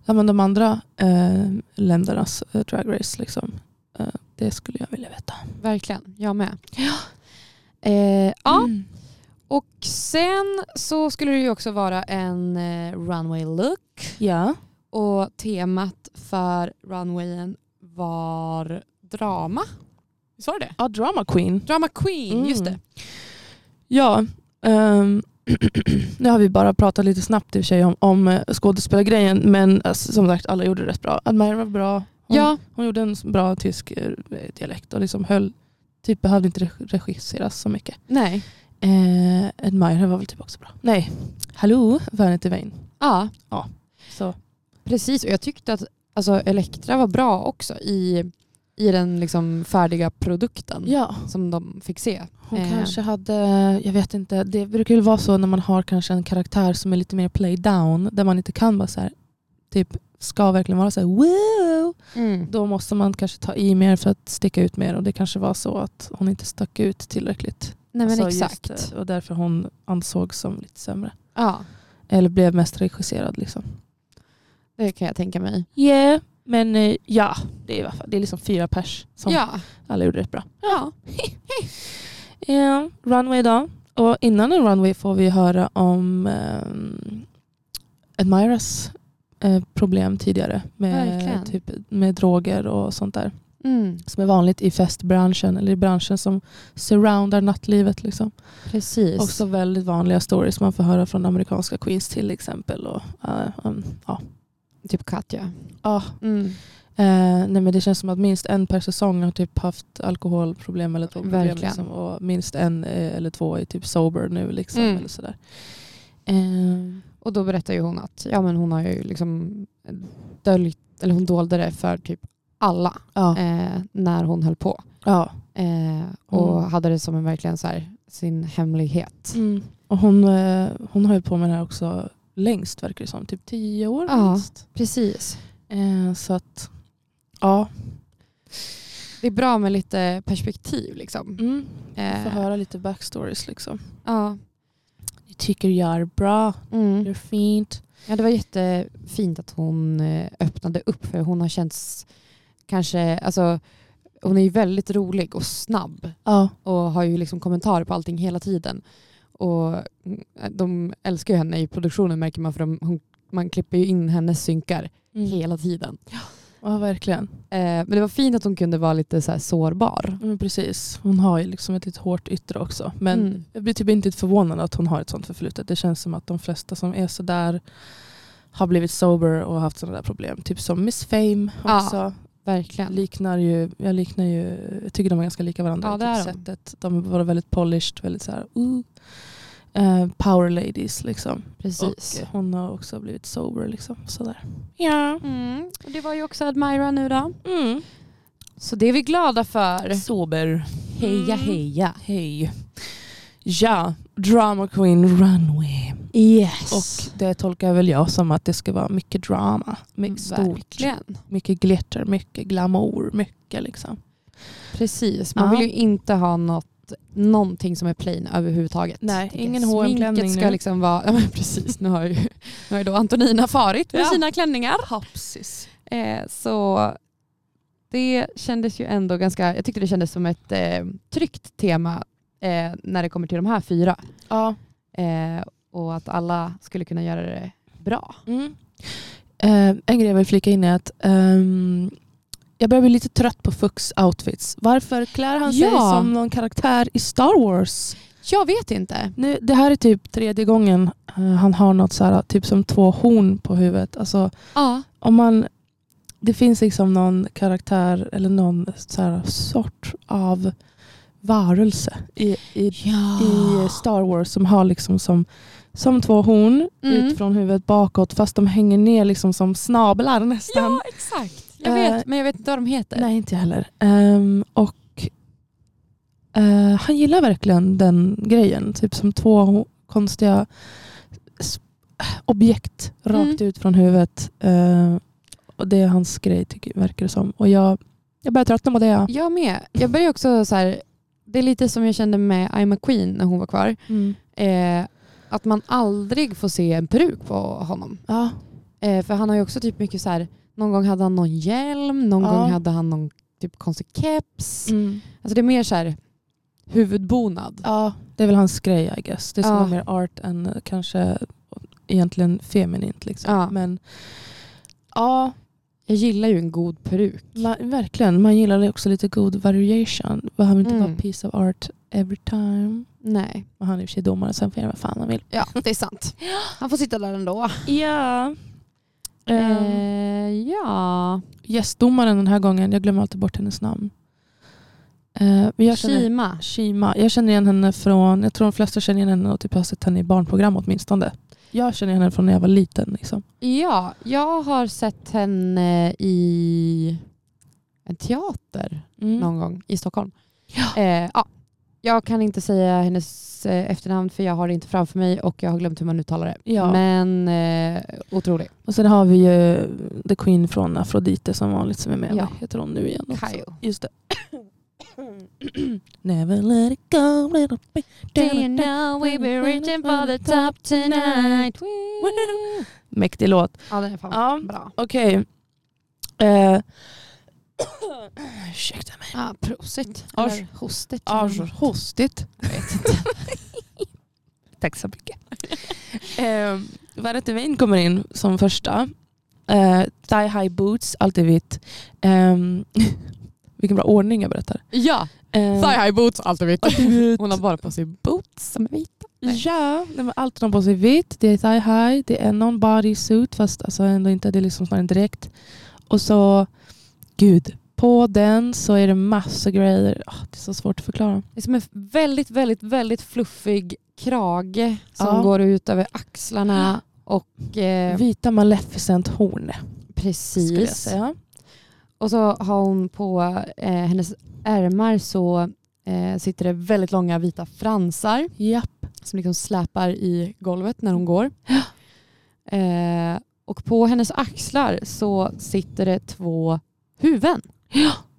[SPEAKER 3] ja, men de andra eh, ländernas eh, drag race? Liksom. Eh, det skulle jag vilja veta.
[SPEAKER 2] Verkligen, jag med. Eh, ja,
[SPEAKER 3] Mm.
[SPEAKER 2] Och sen så skulle det ju också vara en eh, runway look
[SPEAKER 3] Ja.
[SPEAKER 2] och temat för runwayen var drama. Visst var det det?
[SPEAKER 3] ja, drama queen.
[SPEAKER 2] Drama queen,
[SPEAKER 3] Mm.
[SPEAKER 2] just det.
[SPEAKER 3] Ja, ehm, <clears throat> nu har vi bara pratat lite snabbt i och för sig om, om eh, skådespelargrejen men alltså, som sagt alla gjorde det rätt bra. Admira var bra. Hon,
[SPEAKER 2] Ja,
[SPEAKER 3] hon gjorde en bra tysk eh, dialekt och liksom höll, typ behövde inte reg- regisseras så mycket.
[SPEAKER 2] nej.
[SPEAKER 3] Eh, Admira var väl typ också bra. Nej, Hallå Vanity Vane.
[SPEAKER 2] Ja,
[SPEAKER 3] Så,
[SPEAKER 2] precis. Och jag tyckte att alltså, Elektra var bra också i, i den liksom färdiga produkten
[SPEAKER 3] ja,
[SPEAKER 2] som de fick se.
[SPEAKER 3] hon
[SPEAKER 2] Eh.
[SPEAKER 3] kanske hade, jag vet inte, det brukar ju vara så när man har kanske en karaktär som är lite mer play down där man inte kan vara så här, typ ska verkligen vara så här wow
[SPEAKER 2] Mm.
[SPEAKER 3] då måste man kanske ta i mer för att sticka ut mer och det kanske var så att hon inte stack ut tillräckligt.
[SPEAKER 2] Nej men
[SPEAKER 3] Alltså, just
[SPEAKER 2] exakt.
[SPEAKER 3] det, och därför hon ansågs som lite sämre.
[SPEAKER 2] Ja,
[SPEAKER 3] Eller blev mest regisserad liksom.
[SPEAKER 2] det kan jag tänka mig.
[SPEAKER 3] Yeah, men eh, ja, det är, i alla fall- det är liksom fyra pers som
[SPEAKER 2] Ja.
[SPEAKER 3] alla gjorde rätt bra.
[SPEAKER 2] ja.
[SPEAKER 3] Eh, runway då. Och innan en runway får vi höra om ehm, Admiras eh, problem tidigare med,
[SPEAKER 2] Verkligen.
[SPEAKER 3] typ, med droger och sånt där.
[SPEAKER 2] Mm,
[SPEAKER 3] som är vanligt i festbranschen eller i branschen som surroundar nattlivet. Liksom.
[SPEAKER 2] precis.
[SPEAKER 3] Också väldigt vanliga stories man får höra från amerikanska queens till exempel. Och, eh, um, ja.
[SPEAKER 2] typ Katja.
[SPEAKER 3] Ja,
[SPEAKER 2] Mm.
[SPEAKER 3] Eh, nej men det känns som att minst en per säsong har typ haft alkoholproblem eller drogproblem.
[SPEAKER 2] Verkligen.
[SPEAKER 3] Liksom, och minst en eh, eller två är typ sober nu. Liksom,
[SPEAKER 2] Mm.
[SPEAKER 3] eller sådär. Eh,
[SPEAKER 2] Och då berättar ju hon att ja, men hon har ju liksom döljt, eller hon dolde det för typ alla
[SPEAKER 3] ja.
[SPEAKER 2] eh, när hon höll på.
[SPEAKER 3] ja.
[SPEAKER 2] Eh, och
[SPEAKER 3] Mm.
[SPEAKER 2] hade det som en verkligen så här, sin hemlighet.
[SPEAKER 3] Och hon, eh, hon har ju på med det här också längst verkar det som. Typ tio år
[SPEAKER 2] Ja.
[SPEAKER 3] minst.
[SPEAKER 2] Precis.
[SPEAKER 3] Eh, så att, ja.
[SPEAKER 2] Det är bra med lite perspektiv liksom.
[SPEAKER 3] Mm. Få
[SPEAKER 2] Eh,
[SPEAKER 3] höra lite backstories liksom.
[SPEAKER 2] ja.
[SPEAKER 3] Ni tycker jag är bra, det är
[SPEAKER 2] Mm.
[SPEAKER 3] fint.
[SPEAKER 2] ja, det var jättefint att hon eh, öppnade upp för hon har känts kanske, alltså hon är ju väldigt rolig och snabb
[SPEAKER 3] Ja.
[SPEAKER 2] och har ju liksom kommentarer på allting hela tiden. Och mm, de älskar ju henne i produktionen märker man för de, hon, man klipper ju in hennes synkar hela tiden.
[SPEAKER 3] Mm. Ja, verkligen.
[SPEAKER 2] Eh, men det var fint att hon kunde vara lite så här sårbar.
[SPEAKER 3] Ja, Men precis. Hon har ju liksom ett lite hårt yttre också. Men
[SPEAKER 2] Mm.
[SPEAKER 3] jag blir typ inte förvånad att hon har ett sånt förflutet. Det känns som att de flesta som är sådär har blivit sober och haft sådana där problem. Typ som Miss Fame
[SPEAKER 2] Ja.
[SPEAKER 3] också.
[SPEAKER 2] Verkligen.
[SPEAKER 3] Liknar ju, jag liknar ju, jag tycker de är ganska lika varandra.
[SPEAKER 2] Ja,
[SPEAKER 3] i
[SPEAKER 2] det
[SPEAKER 3] typ
[SPEAKER 2] är de.
[SPEAKER 3] sättet. De var väldigt polished, väldigt såhär ooh. Eh, power ladies liksom.
[SPEAKER 2] Precis.
[SPEAKER 3] Och hon har också blivit sober liksom. Sådär. Ja.
[SPEAKER 2] Mm. Och det var ju också Admira nu då.
[SPEAKER 3] Mm.
[SPEAKER 2] Så det är vi glada för.
[SPEAKER 3] Sober.
[SPEAKER 2] Heja
[SPEAKER 3] Mm.
[SPEAKER 2] heja.
[SPEAKER 3] Hej. Ja, Drama Queen Runway.
[SPEAKER 2] Yes.
[SPEAKER 3] Och det tolkar väl jag som att det ska vara mycket drama. Mycket stort.
[SPEAKER 2] Mm, Verkligen.
[SPEAKER 3] Mycket glitter, mycket glamour, mycket liksom.
[SPEAKER 2] Precis. Man
[SPEAKER 3] Ja.
[SPEAKER 2] vill ju inte ha något, någonting som är plain överhuvudtaget.
[SPEAKER 3] Nej,
[SPEAKER 2] Tycker
[SPEAKER 3] ingen
[SPEAKER 2] jag.
[SPEAKER 3] H&M-klänning
[SPEAKER 2] Sminket ska
[SPEAKER 3] nu.
[SPEAKER 2] liksom vara... <laughs> Ja, men precis. Nu har ju, nu har ju då Antonina farit med
[SPEAKER 3] Ja.
[SPEAKER 2] sina klänningar.
[SPEAKER 3] Hapsis.
[SPEAKER 2] Eh, så det kändes ju ändå ganska... Jag tyckte det kändes som ett eh, tryggt tema eh, när det kommer till de här fyra.
[SPEAKER 3] Ja.
[SPEAKER 2] Eh, och att alla skulle kunna göra det bra.
[SPEAKER 3] Mm. Eh, en grej jag vill flika in är att ehm, jag börjar bli lite trött på Fux outfits. Varför klär han sig
[SPEAKER 2] Ja.
[SPEAKER 3] som någon karaktär i Star Wars?
[SPEAKER 2] Jag vet inte.
[SPEAKER 3] Nu, det här är typ tredje gången eh, han har något så här, typ som två horn på huvudet. Alltså,
[SPEAKER 2] Ja.
[SPEAKER 3] om man, det finns liksom någon karaktär eller någon så här sort av varelse i, i,
[SPEAKER 2] ja.
[SPEAKER 3] i Star Wars som har liksom som, som två horn
[SPEAKER 2] Mm.
[SPEAKER 3] ut från huvudet bakåt fast de hänger ner liksom som snablar nästan.
[SPEAKER 2] Ja, exakt. Jag
[SPEAKER 3] Eh,
[SPEAKER 2] vet, men jag vet inte vad de heter.
[SPEAKER 3] Nej, inte jag heller. Ehm, och eh, han gillar verkligen den grejen. Typ som två ho- konstiga s- objekt rakt
[SPEAKER 2] Mm.
[SPEAKER 3] ut från huvudet. Eh, och det är hans grej tycker, verkar det som. Och jag, jag börjar tröttna på det. ja.
[SPEAKER 2] Jag med. Jag börjar också så här, det är lite som jag kände med I'm a Queen när hon var kvar. Eh, att man aldrig får se en peruk på honom.
[SPEAKER 3] Ja.
[SPEAKER 2] Eh, för han har ju också typ mycket så här, någon gång hade han någon hjälm, någon
[SPEAKER 3] Ja.
[SPEAKER 2] gång hade han någon typ konstig keps.
[SPEAKER 3] Mm.
[SPEAKER 2] Alltså det är mer så här huvudbonad.
[SPEAKER 3] ja, det är väl hans grej I guess. Det ska
[SPEAKER 2] Ja.
[SPEAKER 3] vara mer art än eh, kanske egentligen feminint. Liksom.
[SPEAKER 2] Ja.
[SPEAKER 3] Men ja,
[SPEAKER 2] Jag gillar ju en god peruk.
[SPEAKER 3] Man, verkligen, man gillar också lite god variation. Behöver inte
[SPEAKER 2] Mm.
[SPEAKER 3] vara piece of art every time.
[SPEAKER 2] Nej,
[SPEAKER 3] Och han är i och för sig domare så han får göra vad fan han vill.
[SPEAKER 2] ja det är sant. <gasps> Han får sitta där ändå.
[SPEAKER 3] Ja. Eh,
[SPEAKER 2] Eh, ja,
[SPEAKER 3] Gästdomaren den här gången, jag glömmer alltid bort hennes namn. Eh, men jag känner,
[SPEAKER 2] Shima.
[SPEAKER 3] Shima. Jag känner igen henne från, jag tror de flesta känner igen henne och typ har sett henne i barnprogram åtminstone. Jag känner igen henne från när jag var liten. Liksom.
[SPEAKER 2] Ja, jag har sett henne i en teater någon gång i Stockholm.
[SPEAKER 3] Mm. Ja.
[SPEAKER 2] Eh, ja. Jag kan inte säga hennes eh, efternamn för jag har det inte framför mig och jag har glömt hur man uttalar det.
[SPEAKER 3] Ja.
[SPEAKER 2] Men eh, otrolig.
[SPEAKER 3] Och sen har vi ju The Queen från Afrodite som vanligt som är med.
[SPEAKER 2] Ja.
[SPEAKER 3] Vad heter hon nu igen? också?
[SPEAKER 2] Kayo.
[SPEAKER 3] Just det. <coughs> Never let it go little bit.
[SPEAKER 2] know
[SPEAKER 3] we be reaching for the top
[SPEAKER 2] tonight?
[SPEAKER 3] Mäktig låt.
[SPEAKER 2] Ja, den är fan
[SPEAKER 3] Ja.
[SPEAKER 2] bra.
[SPEAKER 3] Okej. Eh. <coughs> Ursäkta mig.
[SPEAKER 2] Ja, prosit.
[SPEAKER 3] Ars.
[SPEAKER 2] Eller Hostet.
[SPEAKER 3] hostigt. Tack så mycket. eh, Varete Wein kommer in som första. Eh, thigh high boots, allt är vitt. Eh, <laughs> vilken bra ordning jag berättar.
[SPEAKER 2] Ja,
[SPEAKER 3] Eh,
[SPEAKER 2] high boots, allt är vitt.
[SPEAKER 3] allt är vitt.
[SPEAKER 2] Hon har bara på sig boots som är vita. Nej.
[SPEAKER 3] Ja, nej, men allt de har på sig är vitt, det är thigh high, det är någon bodysuit fast alltså ändå inte, det är liksom snarare en dräkt. Och så gud, på den så är det massa grejer. Ah, det är så svårt att förklara.
[SPEAKER 2] Det är som en väldigt, väldigt, väldigt fluffig krage som
[SPEAKER 3] Ja.
[SPEAKER 2] går ut över axlarna och eh,
[SPEAKER 3] Vita Maleficent-horn skulle jag
[SPEAKER 2] precis.
[SPEAKER 3] säga.
[SPEAKER 2] Och så har hon på eh, hennes ärmar så eh, sitter det väldigt långa vita fransar
[SPEAKER 3] Japp.
[SPEAKER 2] som liksom släpar i golvet när hon går. Eh, och på hennes axlar så sitter det två huvuden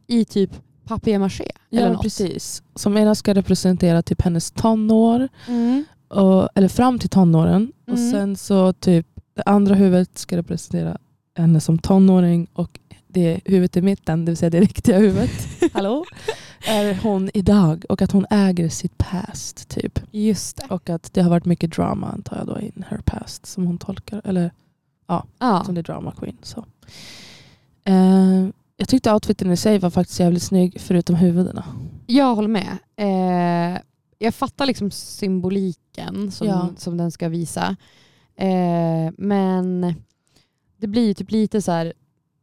[SPEAKER 2] i typ papier-maché. eller
[SPEAKER 3] Ja,
[SPEAKER 2] något.
[SPEAKER 3] precis. Som ena ska representera typ hennes tonår, och, eller fram till tonåren. Och
[SPEAKER 2] Mm.
[SPEAKER 3] sen så typ det andra huvudet ska representera henne som tonåring och det huvudet i mitten, det vill säga det riktiga huvudet, hallå, är hon idag och att hon äger sitt past typ.
[SPEAKER 2] Just det.
[SPEAKER 3] Och att det har varit mycket drama antar jag då in her past som hon tolkar, eller
[SPEAKER 2] Ja.
[SPEAKER 3] som det är drama queen. Så. Eh, jag tyckte outfiten i sig var faktiskt jävligt snygg förutom huvudena.
[SPEAKER 2] Jag håller med. Eh, jag fattar liksom symboliken som,
[SPEAKER 3] Ja.
[SPEAKER 2] som den ska visa. Eh, men det blir ju typ lite så här,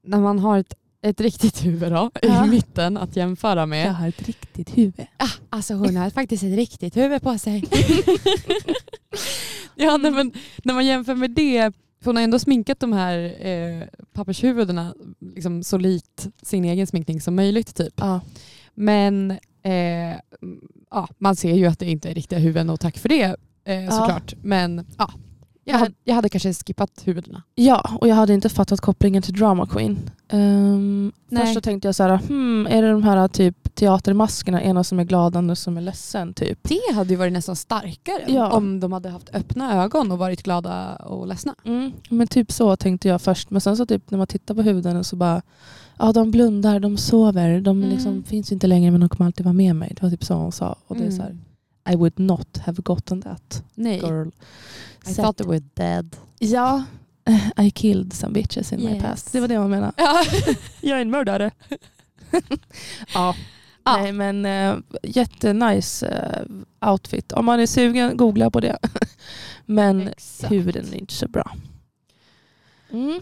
[SPEAKER 2] när man har ett, ett riktigt <laughs> huvud då,
[SPEAKER 3] Ja.
[SPEAKER 2] i mitten att jämföra med.
[SPEAKER 3] Jag har ett riktigt huvud.
[SPEAKER 2] Ah, alltså hon har faktiskt ett riktigt huvud på sig. <laughs> ja, nej, men när man jämför med det, för hon har ändå sminkat de här eh, pappershuvudena liksom, så likt sin egen sminkning som möjligt. Typ.
[SPEAKER 3] Ja.
[SPEAKER 2] Men eh, ja, man ser ju att det inte är riktiga huvuden och tack för det eh, såklart. Men ja, jag, hade, jag hade kanske skippat huvudena.
[SPEAKER 3] Ja, och jag hade inte fattat kopplingen till drama queen. Ehm,
[SPEAKER 2] Nej.
[SPEAKER 3] först så tänkte jag så här, hmm, är det de här typ teatermaskerna, ena som är glad, andra som är ledsen typ.
[SPEAKER 2] Det hade ju varit nästan starkare
[SPEAKER 3] Ja.
[SPEAKER 2] om de hade haft öppna ögon och varit glada och ledsna.
[SPEAKER 3] Mm, men typ så tänkte jag först, men sen så typ när man tittar på huvudena så bara, ja de blundar, de sover, de
[SPEAKER 2] Mm.
[SPEAKER 3] liksom finns inte längre men de kommer alltid vara med mig. Det var typ så hon sa. Och det är så här,
[SPEAKER 2] Mm.
[SPEAKER 3] I would not have gotten that
[SPEAKER 2] Nej,
[SPEAKER 3] girl.
[SPEAKER 2] I
[SPEAKER 3] Så
[SPEAKER 2] thought they
[SPEAKER 3] att-
[SPEAKER 2] were dead.
[SPEAKER 3] ja, eh, <laughs> I killed some bitches in my
[SPEAKER 2] Yes.
[SPEAKER 3] past. Det var det hon menade.
[SPEAKER 2] <laughs> <laughs> Ja.
[SPEAKER 3] Jag är
[SPEAKER 2] <laughs>
[SPEAKER 3] en mördare. ja.
[SPEAKER 2] Ja.
[SPEAKER 3] Nej men uh, jättenice eh, outfit. Om man är sugen, googla på det. <laughs> men
[SPEAKER 2] Exakt.
[SPEAKER 3] huden är inte så bra. Mm.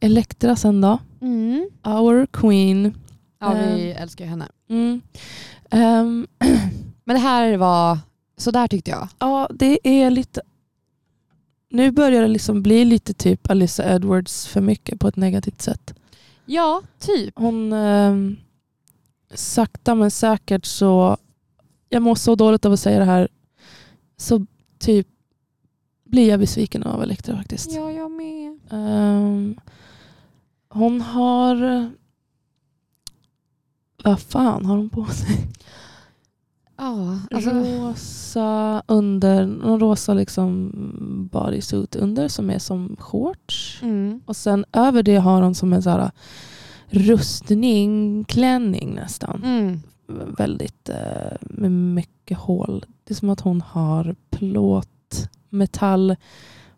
[SPEAKER 3] Elektra sen då.
[SPEAKER 2] Mm.
[SPEAKER 3] Our queen.
[SPEAKER 2] Ja, vi
[SPEAKER 3] Ehm.
[SPEAKER 2] älskar ju henne.
[SPEAKER 3] Mm. Ehm,
[SPEAKER 2] Men det här var, så där tyckte jag.
[SPEAKER 3] ja, det är lite... Nu börjar det liksom bli lite typ Alyssa Edwards för mycket på ett negativt sätt.
[SPEAKER 2] Ja, typ.
[SPEAKER 3] Hon ehm, sakta men säkert så, jag mår så dåligt av att säga det här, så typ blir jag besviken av Elektra faktiskt.
[SPEAKER 2] Ja, jag med.
[SPEAKER 3] Ehm, hon har, vad fan har hon på sig?
[SPEAKER 2] Ja, alltså,
[SPEAKER 3] Rosa under, någon rosa liksom bodysuit under som är som shorts.
[SPEAKER 2] mm.
[SPEAKER 3] Och sen över det har hon som en så här äh, rustning, klänning nästan.
[SPEAKER 2] Mm.
[SPEAKER 3] Väldigt eh, med mycket hål. Det är som att hon har plåt,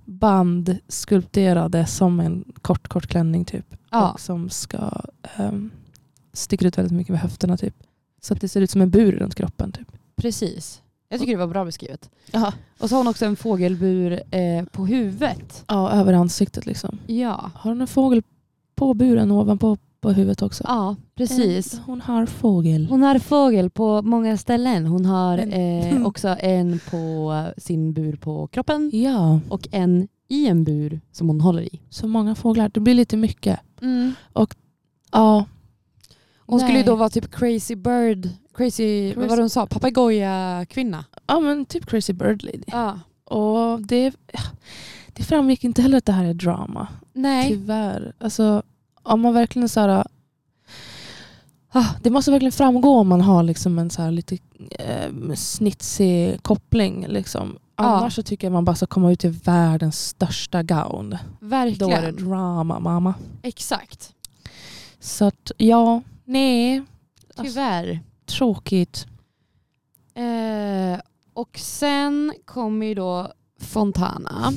[SPEAKER 3] metallband skulpterade som en kort, kort klänning typ.
[SPEAKER 2] Ja.
[SPEAKER 3] Och som ska um, sticka ut väldigt mycket med höfterna typ. Så att det ser ut som en bur runt kroppen typ.
[SPEAKER 2] precis. Jag tycker det var bra beskrivet.
[SPEAKER 3] Ja,
[SPEAKER 2] Och så har hon också en fågelbur eh, på huvudet.
[SPEAKER 3] ja över ansiktet liksom.
[SPEAKER 2] Ja,
[SPEAKER 3] Har hon en fågel på buren ovanpå på huvudet också?
[SPEAKER 2] ja precis.
[SPEAKER 3] Eh, Hon har fågel.
[SPEAKER 2] Hon har fågel på många ställen. Hon har eh, <laughs>
[SPEAKER 3] Mm.
[SPEAKER 2] också en på sin bur på kroppen
[SPEAKER 3] Ja,
[SPEAKER 2] och en i en bur som hon håller i.
[SPEAKER 3] så många fåglar. Det blir lite mycket. Ja,
[SPEAKER 2] Mm. Hon skulle ju
[SPEAKER 3] Nej.
[SPEAKER 2] då vara typ crazy bird, crazy, vad var det hon sa, papegoja kvinna.
[SPEAKER 3] ja men typ Crazy Bird Lady.
[SPEAKER 2] Ja.
[SPEAKER 3] Och det, ja, det framgick inte heller att det här är drama.
[SPEAKER 2] Nej.
[SPEAKER 3] Tyvärr. Alltså, om man verkligen så här, ah, det måste verkligen framgå om man har liksom en så här lite eh, snitsig koppling. Liksom.
[SPEAKER 2] Ja.
[SPEAKER 3] Annars så tycker jag man bara ska komma ut i världens största gown. Då är det
[SPEAKER 2] Verkligen.
[SPEAKER 3] drama mamma.
[SPEAKER 2] Exakt.
[SPEAKER 3] Så att ja, nej,
[SPEAKER 2] Tyvärr.
[SPEAKER 3] tråkigt.
[SPEAKER 2] Eh, och sen kommer ju då Fontana.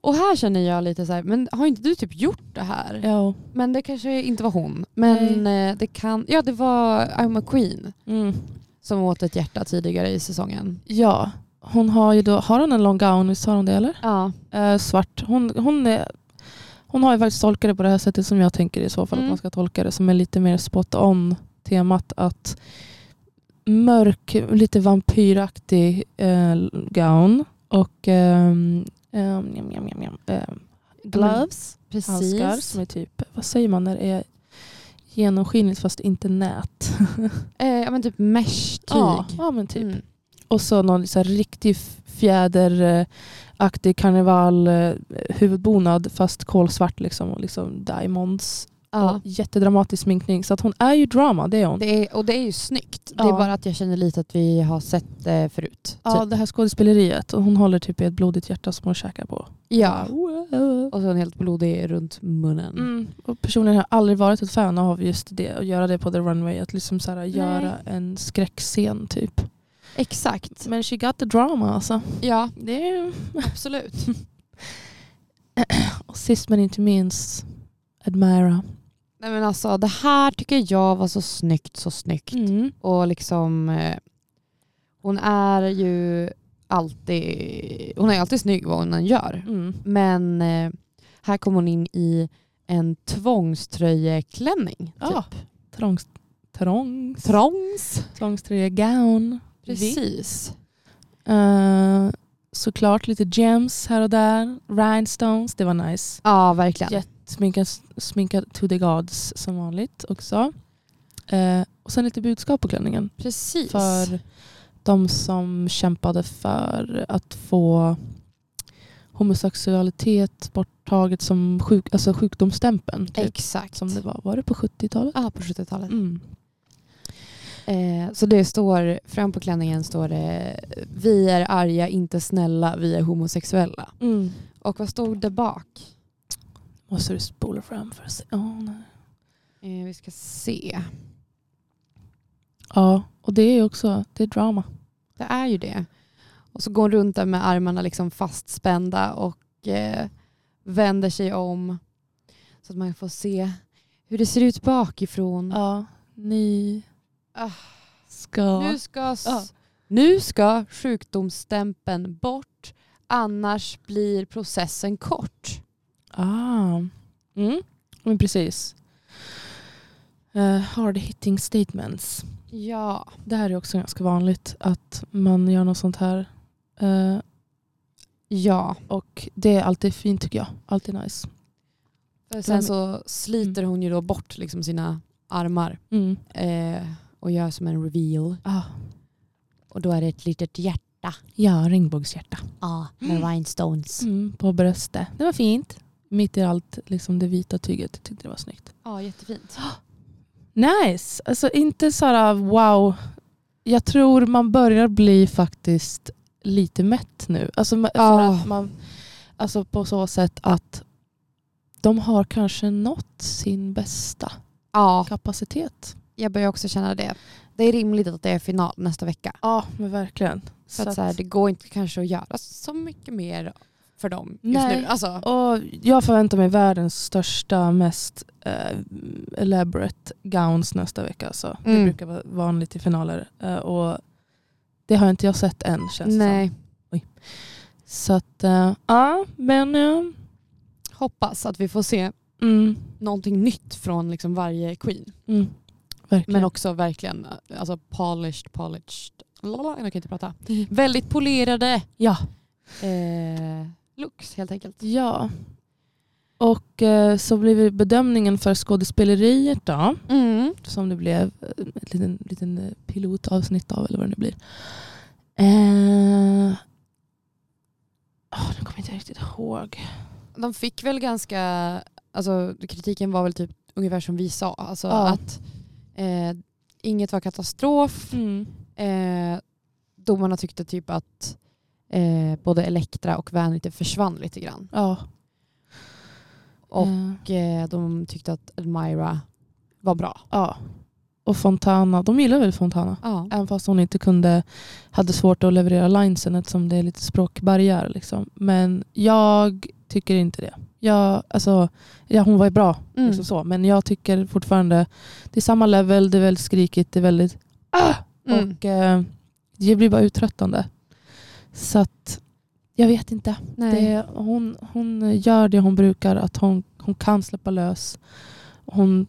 [SPEAKER 2] Och här känner jag lite så här, men har inte du typ gjort det här?
[SPEAKER 3] Ja.
[SPEAKER 2] Men det kanske inte var hon. Men eh, det kan, ja det var I'm a Queen
[SPEAKER 3] Mm.
[SPEAKER 2] som åt ett hjärta tidigare i säsongen.
[SPEAKER 3] Ja, hon har ju då, har hon en lång gown, visst har hon det eller?
[SPEAKER 2] Ja.
[SPEAKER 3] Eh, svart. Hon, hon är, Hon har ju faktiskt tolkat det på det här sättet som jag tänker i så fall
[SPEAKER 2] Mm.
[SPEAKER 3] att man ska tolka det. Som är lite mer spot on temat att mörk, lite vampyraktig eh, gown och ehm, ehm, jam, jam, jam, jam, ehm, gloves, handskar som är typ, vad säger man när det är genomskinligt fast inte nät.
[SPEAKER 2] Eh, ja men typ mesh-tyg.
[SPEAKER 3] Ja, ja men typ.
[SPEAKER 2] Mm.
[SPEAKER 3] Och så någon så här riktig f- fjäderaktig karneval eh, huvudbonad fast kolsvart liksom och liksom diamonds.
[SPEAKER 2] Ja.
[SPEAKER 3] Och jättedramatisk sminkning. Så att hon är ju drama, det är hon.
[SPEAKER 2] Det är, och det är ju snyggt. Det är
[SPEAKER 3] Ja.
[SPEAKER 2] bara att jag känner lite att vi har sett det förut.
[SPEAKER 3] ja,
[SPEAKER 2] typ.
[SPEAKER 3] det här skådespeleriet. Och hon håller typ i ett blodigt hjärta som hon käkar på.
[SPEAKER 2] ja.
[SPEAKER 3] Wow.
[SPEAKER 2] Och så en helt blodig runt munnen.
[SPEAKER 3] Mm. Och personligen har jag aldrig varit ett fan av just det. Att göra det på the runway. Att liksom så här, göra en skräckscen typ.
[SPEAKER 2] Exakt.
[SPEAKER 3] Men she got the drama alltså.
[SPEAKER 2] Ja,
[SPEAKER 3] Det är...
[SPEAKER 2] absolut.
[SPEAKER 3] <clears throat> Och sist men inte minst, Admira.
[SPEAKER 2] Nej men alltså det här tycker jag var så snyggt, så snyggt.
[SPEAKER 3] Mm.
[SPEAKER 2] Och liksom eh, hon är ju alltid, hon är alltid snygg vad hon än gör.
[SPEAKER 3] Mm.
[SPEAKER 2] Men eh, här kom hon in i en tvångströjeklänning. Typ.
[SPEAKER 3] Ja. Trångs... Trångs...
[SPEAKER 2] Trångs.
[SPEAKER 3] Trångströja gown.
[SPEAKER 2] Precis.
[SPEAKER 3] Eh, såklart lite gems här och där. Rhinestones, det var nice.
[SPEAKER 2] Ja, verkligen.
[SPEAKER 3] Jätte- Sminkad, sminkad to the gods som vanligt också. Eh, och sen lite budskap på klänningen.
[SPEAKER 2] Precis.
[SPEAKER 3] För de som kämpade för att få homosexualitet borttaget som sjuk, alltså sjukdomsstämpeln. Typ,
[SPEAKER 2] Exakt.
[SPEAKER 3] som det var. Var det på 70-talet?
[SPEAKER 2] Ja, på 70-talet.
[SPEAKER 3] Mm.
[SPEAKER 2] Eh, så det står, fram på klänningen står det Vi är arga, inte snälla, vi är homosexuella.
[SPEAKER 3] Mm.
[SPEAKER 2] Och vad stod det bak?
[SPEAKER 3] Måste du spola fram för att se? Åh, nej.
[SPEAKER 2] Eh, vi ska se.
[SPEAKER 3] Ja, och det är ju också det är drama.
[SPEAKER 2] Det är ju det. Och så går hon runt där med armarna liksom fastspända och eh, vänder sig om så att man får se hur det ser ut bakifrån.
[SPEAKER 3] Ja, ni
[SPEAKER 2] Ah,
[SPEAKER 3] ska...
[SPEAKER 2] Nu, ska s-
[SPEAKER 3] Ja.
[SPEAKER 2] nu ska sjukdomsstämpeln bort annars blir processen kort.
[SPEAKER 3] Ah. Mm. Men precis. Eh, hard hitting statements.
[SPEAKER 2] Ja,
[SPEAKER 3] Det här är också ganska vanligt att man gör något sånt här. Eh,
[SPEAKER 2] ja.
[SPEAKER 3] och det är alltid fint tycker jag. Alltid nice.
[SPEAKER 2] Sen så sliter hon ju då bort liksom sina armar
[SPEAKER 3] Mm.
[SPEAKER 2] eh, och gör som en reveal.
[SPEAKER 3] Ah.
[SPEAKER 2] Och då är det ett litet hjärta
[SPEAKER 3] Ja, regnbågshjärta.
[SPEAKER 2] med rhinestones.
[SPEAKER 3] Mm, på bröstet. Det var fint. Mitt i allt liksom det vita tyget. Jag tyckte det var snyggt.
[SPEAKER 2] Ja, jättefint.
[SPEAKER 3] Nice. Alltså inte såhär wow. Jag tror man börjar bli faktiskt lite mätt nu. Alltså, ma- för
[SPEAKER 2] Ja.
[SPEAKER 3] att man, alltså på så sätt att de har kanske nått sin bästa
[SPEAKER 2] Ja,
[SPEAKER 3] kapacitet.
[SPEAKER 2] jag börjar också känna det. Det är rimligt att det är final nästa vecka.
[SPEAKER 3] Ja men verkligen.
[SPEAKER 2] Så att, så här, det går inte kanske att göra så mycket mer för dem just
[SPEAKER 3] Nej.
[SPEAKER 2] nu. Alltså,
[SPEAKER 3] och jag förväntar mig världens största, mest eh, elaborate gowns nästa vecka. Alltså. Det
[SPEAKER 2] Mm.
[SPEAKER 3] brukar vara vanligt i finaler. Eh, och det har inte jag sett än känns det som.
[SPEAKER 2] nej.
[SPEAKER 3] Så att, eh, ja, men eh,
[SPEAKER 2] Hoppas att vi får se
[SPEAKER 3] mm,
[SPEAKER 2] någonting nytt från liksom varje queen.
[SPEAKER 3] mm, verkligen.
[SPEAKER 2] Men också verkligen alltså, polished, polished. Lala, jag kan inte prata. Väldigt polerade
[SPEAKER 3] ja.
[SPEAKER 2] eh, looks helt enkelt.
[SPEAKER 3] ja. Och eh, så blev bedömningen för skådespeleriet då,
[SPEAKER 2] Mm.
[SPEAKER 3] som det blev eh, ett liten, liten eh, pilotavsnitt av eller vad det nu blir. Eh, ah, nu kommer jag inte riktigt ihåg.
[SPEAKER 2] De fick väl ganska, alltså kritiken var väl typ ungefär som vi sa. Alltså
[SPEAKER 3] Ja.
[SPEAKER 2] att eh, inget var katastrof. Eh, domarna tyckte typ att eh, både Elektra och Vanity försvann lite grann.
[SPEAKER 3] Ja.
[SPEAKER 2] Och-
[SPEAKER 3] Eh,
[SPEAKER 2] Och eh, de tyckte att Admira var bra.
[SPEAKER 3] ja. Och Fontana, de gillar väl Fontana?
[SPEAKER 2] Ja.
[SPEAKER 3] Även fast hon inte kunde, hade svårt att leverera linesen eftersom det är lite språkbarriär. Liksom. Men jag tycker inte det. Jag, alltså, ja, hon var ju bra,
[SPEAKER 2] Mm.
[SPEAKER 3] liksom så. men jag tycker fortfarande det är samma level, det är väldigt skrikigt, det är väldigt... Ah!
[SPEAKER 2] Mm.
[SPEAKER 3] Och, eh, det blir bara uttröttande. Så att, Jag vet inte.
[SPEAKER 2] Nej.
[SPEAKER 3] Det, hon, hon gör det hon brukar, att hon, hon kan släppa lös. Hon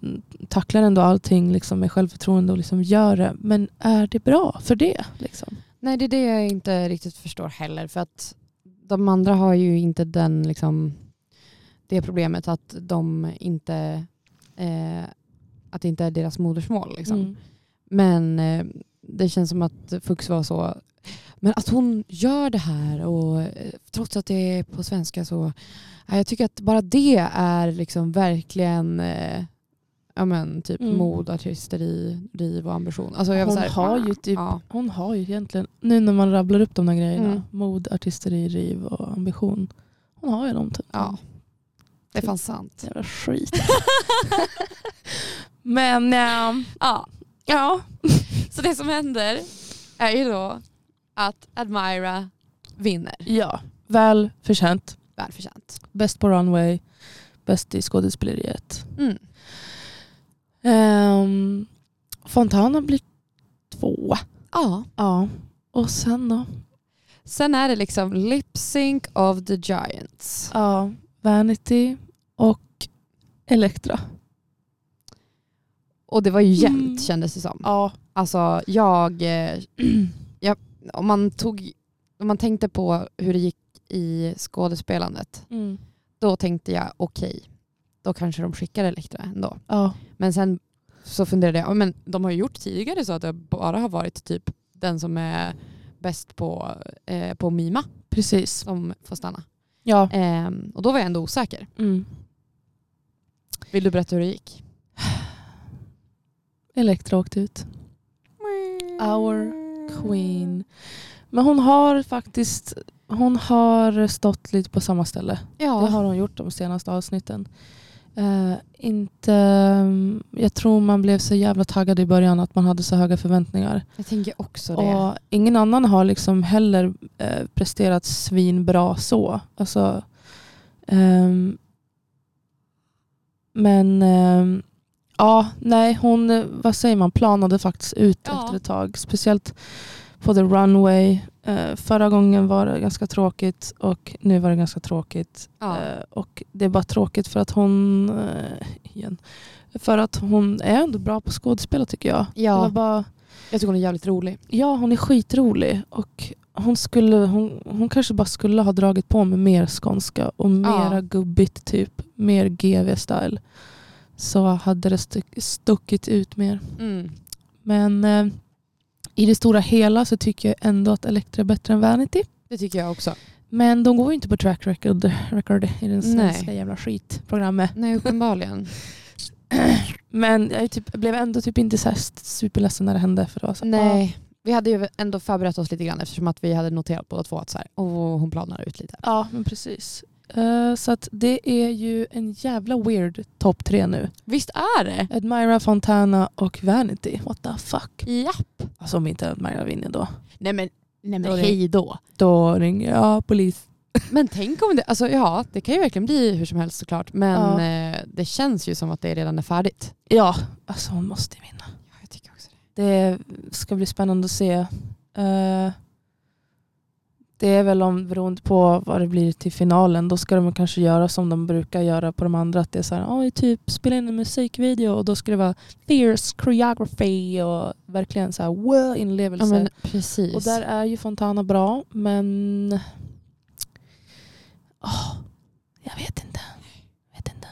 [SPEAKER 3] tacklar ändå allting liksom, med självförtroende och liksom gör det. Men är det bra för det? Liksom?
[SPEAKER 2] Nej, det är det jag inte riktigt förstår heller. För att de andra har ju inte den, liksom, det problemet att de inte, eh, att det inte är deras modersmål. Liksom.
[SPEAKER 3] Mm.
[SPEAKER 2] Men eh, det känns som att Fux var så, men att hon gör det här och eh, trots att det är på svenska så, ja, jag tycker att bara det är liksom verkligen eh, ja, men, typ
[SPEAKER 3] Mm.
[SPEAKER 2] mod, artisteri, driv och ambition. Alltså, jag var
[SPEAKER 3] Hon,
[SPEAKER 2] så här,
[SPEAKER 3] har ju typ,
[SPEAKER 2] ja.
[SPEAKER 3] hon har ju egentligen, nu när man rabblar upp de där grejerna,
[SPEAKER 2] Mm.
[SPEAKER 3] mod, artisteri, riv och ambition. Hon har ju dem. Typ.
[SPEAKER 2] Ja. Mm. Det är fan sant.
[SPEAKER 3] Jävla skit. <laughs> Men ehm,
[SPEAKER 2] Ja. <laughs>
[SPEAKER 3] ja,
[SPEAKER 2] Så det som händer är ju då att Admira vinner.
[SPEAKER 3] ja, väl förtjänt.
[SPEAKER 2] Välförtjänt.
[SPEAKER 3] Bäst på runway, bäst i skådespeleriet.
[SPEAKER 2] Mm.
[SPEAKER 3] Ehm, Fontana blir två.
[SPEAKER 2] Ja.
[SPEAKER 3] Ja. Och sen då?
[SPEAKER 2] Sen är det liksom lip sync of the giants.
[SPEAKER 3] Ja, Vanity och Elektra.
[SPEAKER 2] Och det var ju jämnt
[SPEAKER 3] Mm.
[SPEAKER 2] kändes det som.
[SPEAKER 3] Ja.
[SPEAKER 2] Alltså jag, eh, <clears throat> jag om, man tog, om man tänkte på hur det gick i skådespelandet,
[SPEAKER 3] Mm.
[SPEAKER 2] då tänkte jag okej, då kanske de skickar Elektra ändå.
[SPEAKER 3] Ja.
[SPEAKER 2] Men sen så funderade jag, ja, men de har ju gjort tidigare så att det bara har varit typ den som är bäst på, eh, på Mima
[SPEAKER 3] Precis.
[SPEAKER 2] som får stanna.
[SPEAKER 3] Ja.
[SPEAKER 2] Ehm, och då var jag ändå osäker.
[SPEAKER 3] Mm.
[SPEAKER 2] Vill du berätta hur det gick?
[SPEAKER 3] Elektra åkte ut. Our Queen. Men hon har faktiskt hon har stått lite på samma ställe. Det
[SPEAKER 2] Ja,
[SPEAKER 3] har hon gjort de senaste avsnitten. Eh, inte, mm, jag tror man blev så jävla taggad i början att man hade så höga förväntningar.
[SPEAKER 2] jag tänker också det.
[SPEAKER 3] Och ingen annan har liksom heller eh, presterat svinbra så. Alltså, ehm, men ehm, ja, nej, hon, eh, vad säger man, planade faktiskt ut
[SPEAKER 2] Ja.
[SPEAKER 3] efter ett tag. Speciellt på the runway. Eh, förra gången var det ganska tråkigt och nu var det ganska tråkigt.
[SPEAKER 2] ja.
[SPEAKER 3] Eh, Och det är bara tråkigt för att hon eh, igen, för att hon är ändå bra på skådespel tycker jag. Det var
[SPEAKER 2] ja,
[SPEAKER 3] bara,
[SPEAKER 2] jag tycker hon är jävligt rolig.
[SPEAKER 3] ja, hon är skitrolig och hon, skulle, hon, hon kanske bara skulle ha dragit på med mer skånska och mera gubbigt typ. Mer GV-style. Så hade det stuck- stuckit ut mer.
[SPEAKER 2] Mm.
[SPEAKER 3] Men eh, i det stora hela så tycker jag ändå att Elektra är bättre än Vanity.
[SPEAKER 2] Det tycker jag också.
[SPEAKER 3] Men de går ju inte på track record, record i den
[SPEAKER 2] Nej.
[SPEAKER 3] svenska jävla skitprogrammet.
[SPEAKER 2] Nej, <laughs> uppenbarligen.
[SPEAKER 3] Men jag är typ, blev ändå typ inte så här superledsen när det hände. För det var så,
[SPEAKER 2] Nej. Vi hade ju ändå förberett oss lite grann eftersom att vi hade noterat båda två att så här, "Åh, hon planar ut lite.
[SPEAKER 3] ah. Ja, ja, men precis. Eh, så att det är ju en jävla weird topp tre nu.
[SPEAKER 2] Visst är det?
[SPEAKER 3] Admira, Fontana och Vanity. What the fuck?
[SPEAKER 2] Ja.
[SPEAKER 3] Alltså om inte Admira vinner då.
[SPEAKER 2] Nej men, nej
[SPEAKER 3] Då är
[SPEAKER 2] men
[SPEAKER 3] det-
[SPEAKER 2] hej då.
[SPEAKER 3] Då ringer jag polis.
[SPEAKER 2] Men tänk om det, alltså ja det kan ju verkligen bli hur som helst såklart men
[SPEAKER 3] Ja.
[SPEAKER 2] eh, det känns ju som att det redan är färdigt.
[SPEAKER 3] Ja, alltså hon måste vinna.
[SPEAKER 2] Ja, jag tycker också det.
[SPEAKER 3] Det ska bli spännande att se. Eh, det är väl om, beroende på vad det blir till finalen, då ska de kanske göra som de brukar göra på de andra. Att det är så här, "Oj, typ spela in en musikvideo och då ska det vara fierce choreography och verkligen så här wow
[SPEAKER 2] Ja
[SPEAKER 3] inlevelse.
[SPEAKER 2] men precis.
[SPEAKER 3] Alltså, och där är ju Fontana bra, men Ah, jag vet inte. Jag vet inte.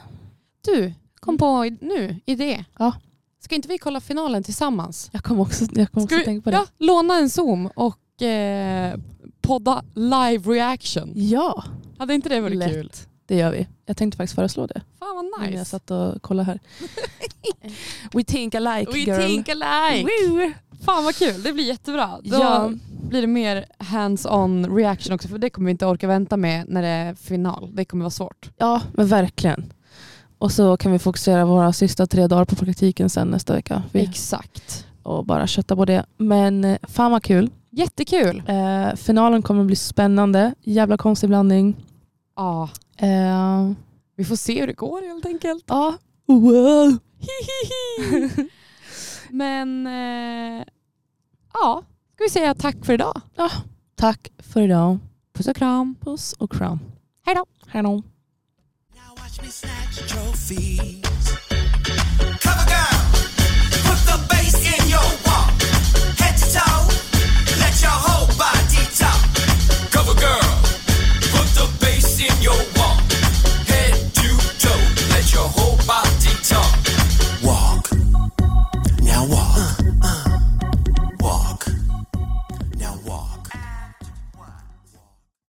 [SPEAKER 2] du, kom på i- nu, idé.
[SPEAKER 3] Mm. Ja.
[SPEAKER 2] Ska inte vi kolla finalen tillsammans?
[SPEAKER 3] Jag kommer också, jag kom också
[SPEAKER 2] Ska vi-
[SPEAKER 3] tänka på det.
[SPEAKER 2] Ja, låna en zoom och eh, podda live reaction.
[SPEAKER 3] ja,
[SPEAKER 2] Hade inte det varit
[SPEAKER 3] Lätt.
[SPEAKER 2] kul?
[SPEAKER 3] det gör vi. Jag tänkte faktiskt föreslå det.
[SPEAKER 2] Fan vad
[SPEAKER 3] Nice.
[SPEAKER 2] nice.
[SPEAKER 3] Jag satt och kollade <laughs> här. We think alike
[SPEAKER 2] We
[SPEAKER 3] girl.
[SPEAKER 2] think alike.
[SPEAKER 3] Woo.
[SPEAKER 2] Fan vad kul, det blir jättebra. Då
[SPEAKER 3] Ja.
[SPEAKER 2] blir det mer hands-on reaction också för det kommer vi inte orka vänta med när det är final. Det kommer vara svårt.
[SPEAKER 3] ja, men verkligen. Och så kan vi fokusera våra sista tre dagar på praktiken sen nästa vecka. Vi,
[SPEAKER 2] Exakt.
[SPEAKER 3] och bara kötta på det. Men eh, fan vad kul.
[SPEAKER 2] Jättekul.
[SPEAKER 3] Eh, finalen kommer bli spännande. Jävla konstig blandning.
[SPEAKER 2] Ja,
[SPEAKER 3] Eh,
[SPEAKER 2] vi får se hur det går helt enkelt. <laughs>
[SPEAKER 3] ja. <laughs> Wow.
[SPEAKER 2] Hihihi. Men eh, ja, ska vi säga tack för idag.
[SPEAKER 3] Tack för idag.
[SPEAKER 2] Puss och kram.
[SPEAKER 3] Puss och kram.
[SPEAKER 2] Hej då.
[SPEAKER 3] Hej då.
[SPEAKER 1] Now watch me snatch trophies. Cover girl, put the bass in your walk. Head to toe, let your whole body talk. Cover girl, put the bass in your walk.